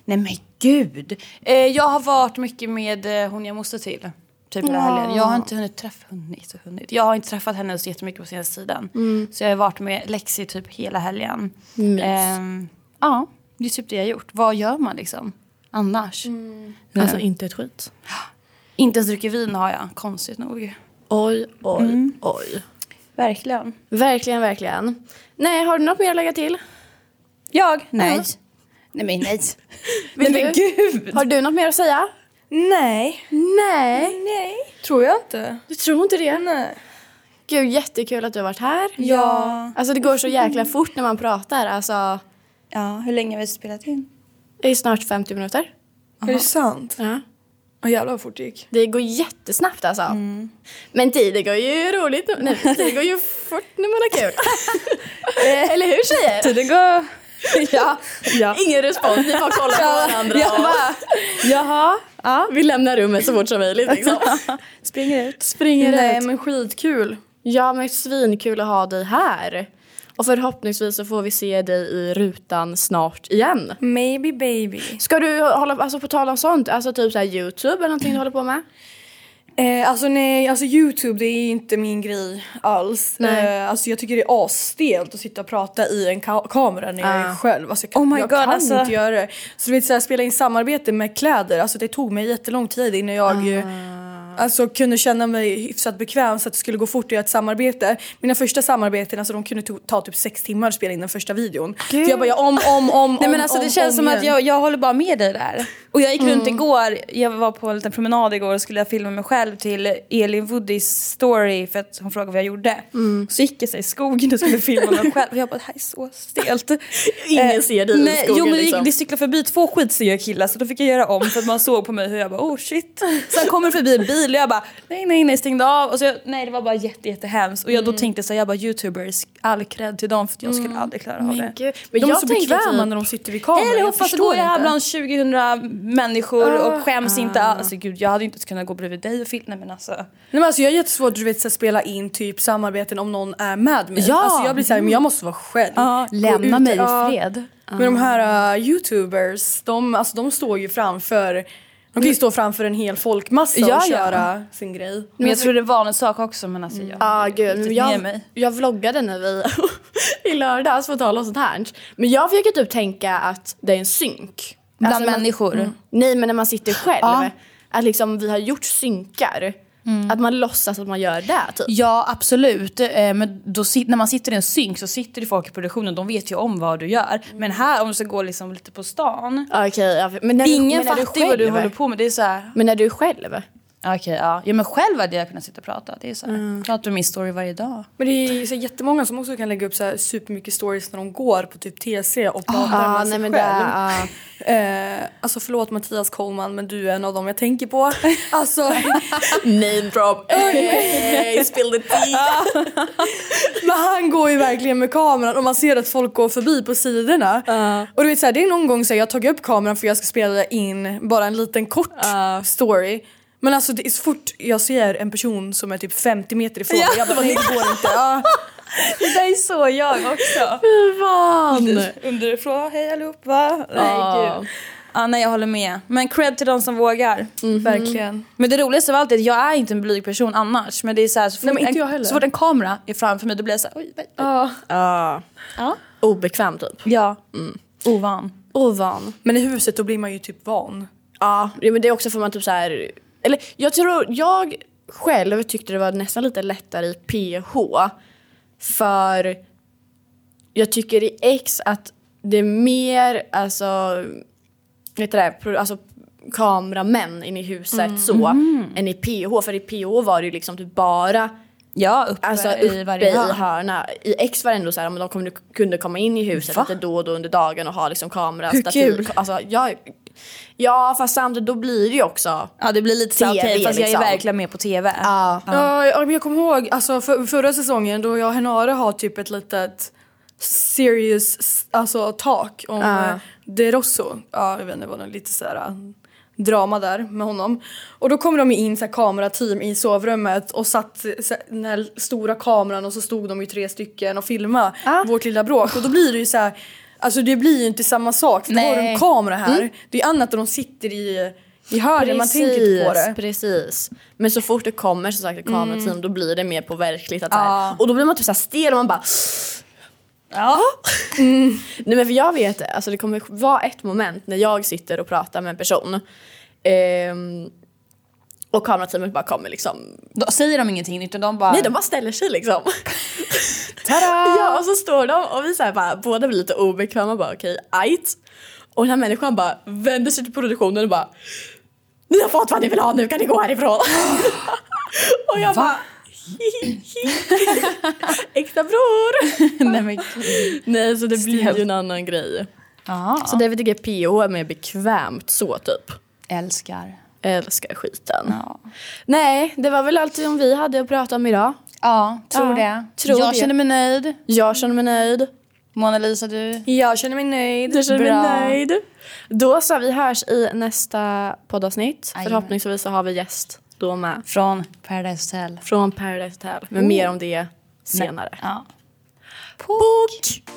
Speaker 9: Nej men gud! Eh, jag har varit mycket med eh, hon jag måste till. Typ den här helgen. Jag har inte hunnit träffa... Hunnit och hunnit. Jag har inte träffat henne så jättemycket på senaste tiden. Så jag har varit med Lexi typ hela helgen. Ehm, ja, det är typ det jag har gjort. Vad gör man liksom annars? Alltså,
Speaker 2: inte ett skit.
Speaker 9: inte ens druckit vin har jag, konstigt nog.
Speaker 2: Oj, oj, oj.
Speaker 9: Verkligen.
Speaker 2: Verkligen, verkligen. Nej, har du något mer att lägga till?
Speaker 9: Jag? Nej. Nej men nej.
Speaker 2: Men, men gud! Har du något mer att säga?
Speaker 1: Nej.
Speaker 2: Nej.
Speaker 1: Tror jag inte.
Speaker 2: Du tror inte det?
Speaker 1: Nej.
Speaker 2: Gud, jättekul att du har varit här.
Speaker 9: Ja.
Speaker 2: Alltså det går så jäkla fort när man pratar. Alltså,
Speaker 9: Ja, hur länge har vi spelat in?
Speaker 2: det är snart 50 minuter.
Speaker 1: Är det sant?
Speaker 2: Ja.
Speaker 1: Åh jävlar vad fort det gick.
Speaker 2: Det går jättesnabbt alltså. Men tiden går ju roligt. nu- Nej, tiden går ju fort när man har kul. Eh, Eller hur tjejer? Tiden går... ja. Ingen respons, vi bara kollar på varandra. Jag bara, Jaha, ja. vi lämnar rummet så fort som möjligt. Liksom. Springer ut. Springer
Speaker 1: Nej
Speaker 2: ut.
Speaker 1: men skitkul.
Speaker 2: Ja men svinkul att ha dig här. Och förhoppningsvis så får vi se dig i rutan snart igen.
Speaker 1: Maybe baby.
Speaker 2: Ska du hålla, alltså på tal om sånt, alltså typ så här Youtube eller någonting du håller på med?
Speaker 1: Eh, alltså nej, alltså Youtube det är inte min grej alls.
Speaker 2: Nej.
Speaker 1: Eh, alltså jag tycker det är asstelt att sitta och prata i en ka- kamera när jag är
Speaker 3: Ah.
Speaker 1: själv. Alltså jag kan,
Speaker 9: Oh my
Speaker 1: jag
Speaker 9: God,
Speaker 1: kan
Speaker 9: alltså.
Speaker 1: inte göra det. Så du vet såhär, spela in samarbete med kläder, alltså det tog mig jättelång tid innan jag ju,
Speaker 3: Ah.
Speaker 1: Alltså kunde känna mig hyfsat bekväm så att det skulle gå fort att göra ett samarbete. Mina första samarbeten, alltså de kunde to- ta typ sex timmar att spela in den första videon. För jag bara, jag om, om, om,
Speaker 3: Nej
Speaker 1: om,
Speaker 3: men alltså
Speaker 1: om,
Speaker 3: det känns
Speaker 1: om
Speaker 3: som
Speaker 1: igen.
Speaker 3: att jag, jag håller bara med dig där. Och jag gick
Speaker 2: Mm.
Speaker 3: runt igår, jag var på en liten promenad igår och skulle jag filma mig själv till Elin Woodys story för att hon frågade vad jag gjorde.
Speaker 2: Mm.
Speaker 3: Så gick jag så här i skogen och skulle filma mig själv och jag bara det här är så stelt. Eh,
Speaker 2: Ingen ser dig i
Speaker 3: nej,
Speaker 2: skogen,
Speaker 3: Jo men det,
Speaker 2: liksom.
Speaker 3: gick, det cyklade förbi två skitsnygga killar så då fick jag göra om för att man såg på mig hur jag bara oh shit. Sen kommer det förbi en bil och jag bara nej nej nej stängde av. Och så, jag- nej det var bara jätte, jättehemskt. Och jag,
Speaker 2: Mm.
Speaker 3: då tänkte jag så här, jag bara youtubers all cred till dem för att jag skulle aldrig klara av det.
Speaker 2: gud.
Speaker 1: De
Speaker 2: Men
Speaker 1: är
Speaker 2: jag
Speaker 1: så
Speaker 2: tänker
Speaker 1: bekväma
Speaker 2: typ,
Speaker 1: när de sitter vid kameran.
Speaker 3: Hej allihopa, så
Speaker 1: förstår
Speaker 3: går jag här
Speaker 1: inte.
Speaker 3: bland 2000 människor
Speaker 2: Ah.
Speaker 3: och skäms inte
Speaker 9: Ah.
Speaker 3: alls. Alltså, gud, jag hade inte ens kunnat gå bredvid dig och filma. Men alltså.
Speaker 1: Nej, men alltså jag har jättesvårt du vet, att spela in typ samarbeten om någon är med mig.
Speaker 9: Ja.
Speaker 1: Alltså jag blir såhär, men jag måste vara själv.
Speaker 9: Ja,
Speaker 1: Gå
Speaker 9: lämna
Speaker 1: ut-
Speaker 9: mig i
Speaker 1: ja.
Speaker 9: fred. Ah.
Speaker 1: Men de här uh, youtubers, de, alltså, de står ju framför, de kan ju stå framför en hel folkmassa
Speaker 9: Ja,
Speaker 1: och
Speaker 9: ja.
Speaker 1: köra sin grej.
Speaker 2: Mm.
Speaker 9: Men jag tror det är en vanlig sak också men alltså jag
Speaker 2: Ja, gud. Men
Speaker 9: riktigt ner
Speaker 2: jag,
Speaker 9: mig.
Speaker 2: jag vloggade när vi i lördags, på tal om sånt här. Men jag försöker typ tänka att det är en synk.
Speaker 9: Bland
Speaker 2: när man-
Speaker 9: människor?
Speaker 2: Mm. Nej, men när man sitter själv.
Speaker 9: Ja.
Speaker 2: Att liksom vi har gjort synkar. Att man låtsas att man gör det, typ.
Speaker 9: Ja absolut, Eh, men då, sit- när man sitter i en synk så sitter det folk i produktionen, de vet ju om vad du gör.
Speaker 2: Mm.
Speaker 9: Men här om du ska gå liksom lite på stan,
Speaker 2: Okej, ja, men när du,
Speaker 9: ingen
Speaker 2: men när du
Speaker 9: fattar vad du
Speaker 2: själv-
Speaker 9: håller på med. Det är så här,
Speaker 2: Men när du är själv.
Speaker 9: Okej, ja. ja. Men själv hade jag kunnat sitta och prata. Det är så här.
Speaker 2: Mm.
Speaker 9: Pratar om min story varje dag.
Speaker 1: Men det är ju så här jättemånga som också kan lägga upp så här supermycket stories när de går på typ TC och pratar
Speaker 2: Ah,
Speaker 1: med
Speaker 2: nej,
Speaker 1: sig
Speaker 2: men det-
Speaker 1: själv. eh, alltså förlåt Mattias Coleman men du är en av dem jag tänker på. Alltså
Speaker 2: Name drop. Hey, spill the tea.
Speaker 1: Men han går ju verkligen med kameran och man ser att folk går förbi på sidorna. Och du vet så här, det är någon gång så här, jag har tagit upp kameran för jag ska spela in bara en liten kort story. Men alltså det är så fort jag ser en person som är typ 50 meter ifrån mig, jag bara nej det går inte. Ja.
Speaker 3: Det där är så jag också.
Speaker 9: Underifrån, hej allihop va? Nej gud. Ja, nej jag håller med. Men cred till de som vågar.
Speaker 1: Verkligen.
Speaker 9: Men det roligaste av allt är att jag är inte en blyg person annars. Men det är så här, så, fort
Speaker 1: men inte jag
Speaker 9: en,
Speaker 1: heller.
Speaker 9: så fort en kamera är framför mig då blir jag så här, oj, oj, oj.
Speaker 2: Obekväm typ.
Speaker 9: Ja. Ovan.
Speaker 2: Ovan.
Speaker 1: Men i huset då blir man ju typ van.
Speaker 2: Ja, ja, men det är också för man typ så här... Eller jag tror, jag själv tyckte det var nästan lite lättare i PH. För jag tycker i X att det är mer, alltså, vet du det, pro- alltså kameramän inne i huset
Speaker 9: Mm.
Speaker 2: så, än i PH. För i PH var det ju liksom typ bara
Speaker 9: Ja, uppe,
Speaker 2: Alltså uppe
Speaker 9: i varje
Speaker 2: i hörna. I X var det ändå så här, men de kom, kunde komma in i huset lite då och då under dagen och ha liksom kamera,
Speaker 1: Hur
Speaker 2: stativ.
Speaker 1: kul.
Speaker 2: Alltså, jag, ja fast samtidigt då blir det ju också
Speaker 9: Ja det blir lite så här,
Speaker 2: TV,
Speaker 9: okej fast jag
Speaker 2: liksom.
Speaker 9: är verkligen med på TV.
Speaker 1: Ja, ja, men jag kommer ihåg alltså, för, förra säsongen då jag och Henare har typ ett litet serious alltså, tak om
Speaker 2: Ja.
Speaker 1: uh. De Rosso. Ja, jag vet inte, det var någon lite så här eh, drama där med honom. Och då kom de ju in så här, kamerateam i sovrummet och satt eh, så här, den här stora kameran och så stod de ju tre stycken och filmade vårt lilla bråk och då blir det ju så här Alltså det blir ju inte samma sak för då har du en
Speaker 9: Nej.
Speaker 1: kamera här. Det är annat när de sitter i, i hörnet, man tänker inte på det. Mm.
Speaker 2: precis. Men så fort det kommer som sagt ett kamerateam då blir det mer på verkligt. Att, så här, och då blir man typ så här stel och man bara "Ah."
Speaker 9: Ja.
Speaker 1: Mm.
Speaker 2: Nej men för jag vet, alltså det kommer vara ett moment när jag sitter och pratar med en person ehm, och kamerateamet bara kommer liksom
Speaker 9: Då säger de ingenting utan de bara...
Speaker 2: Nej de bara ställer sig liksom. ja och så står de och vi så här bara, båda blir lite obekväma bara okej, ajt. Och den här människan bara vänder sig till produktionen och bara Ni har fått vad ni vill ha nu kan ni gå härifrån. och jag bara Äkta bror!
Speaker 9: Nej men gud.
Speaker 2: Nej så det blir ju en annan grej.
Speaker 9: Ja.
Speaker 2: Så därför tycker jag PH är mer bekvämt så typ.
Speaker 9: Älskar.
Speaker 2: Älskar skiten.
Speaker 9: Ja.
Speaker 2: Nej, det var väl allt som vi hade att prata om idag.
Speaker 9: Ja, tror
Speaker 2: Ja,
Speaker 9: det.
Speaker 2: tror
Speaker 9: jag
Speaker 2: det.
Speaker 9: känner mig nöjd.
Speaker 2: Jag känner mig nöjd.
Speaker 9: Mona Lisa, du?
Speaker 1: Jag känner mig nöjd.
Speaker 2: Du känner
Speaker 9: Bra.
Speaker 2: mig nöjd. Då så, vi hörs i nästa poddavsnitt.
Speaker 9: Jajamän.
Speaker 2: Förhoppningsvis så har vi gäst då med. Oh.
Speaker 9: Från Paradise Hotel.
Speaker 2: Från Paradise Hotel. Men mer om det senare.
Speaker 9: Ja.
Speaker 2: Bok!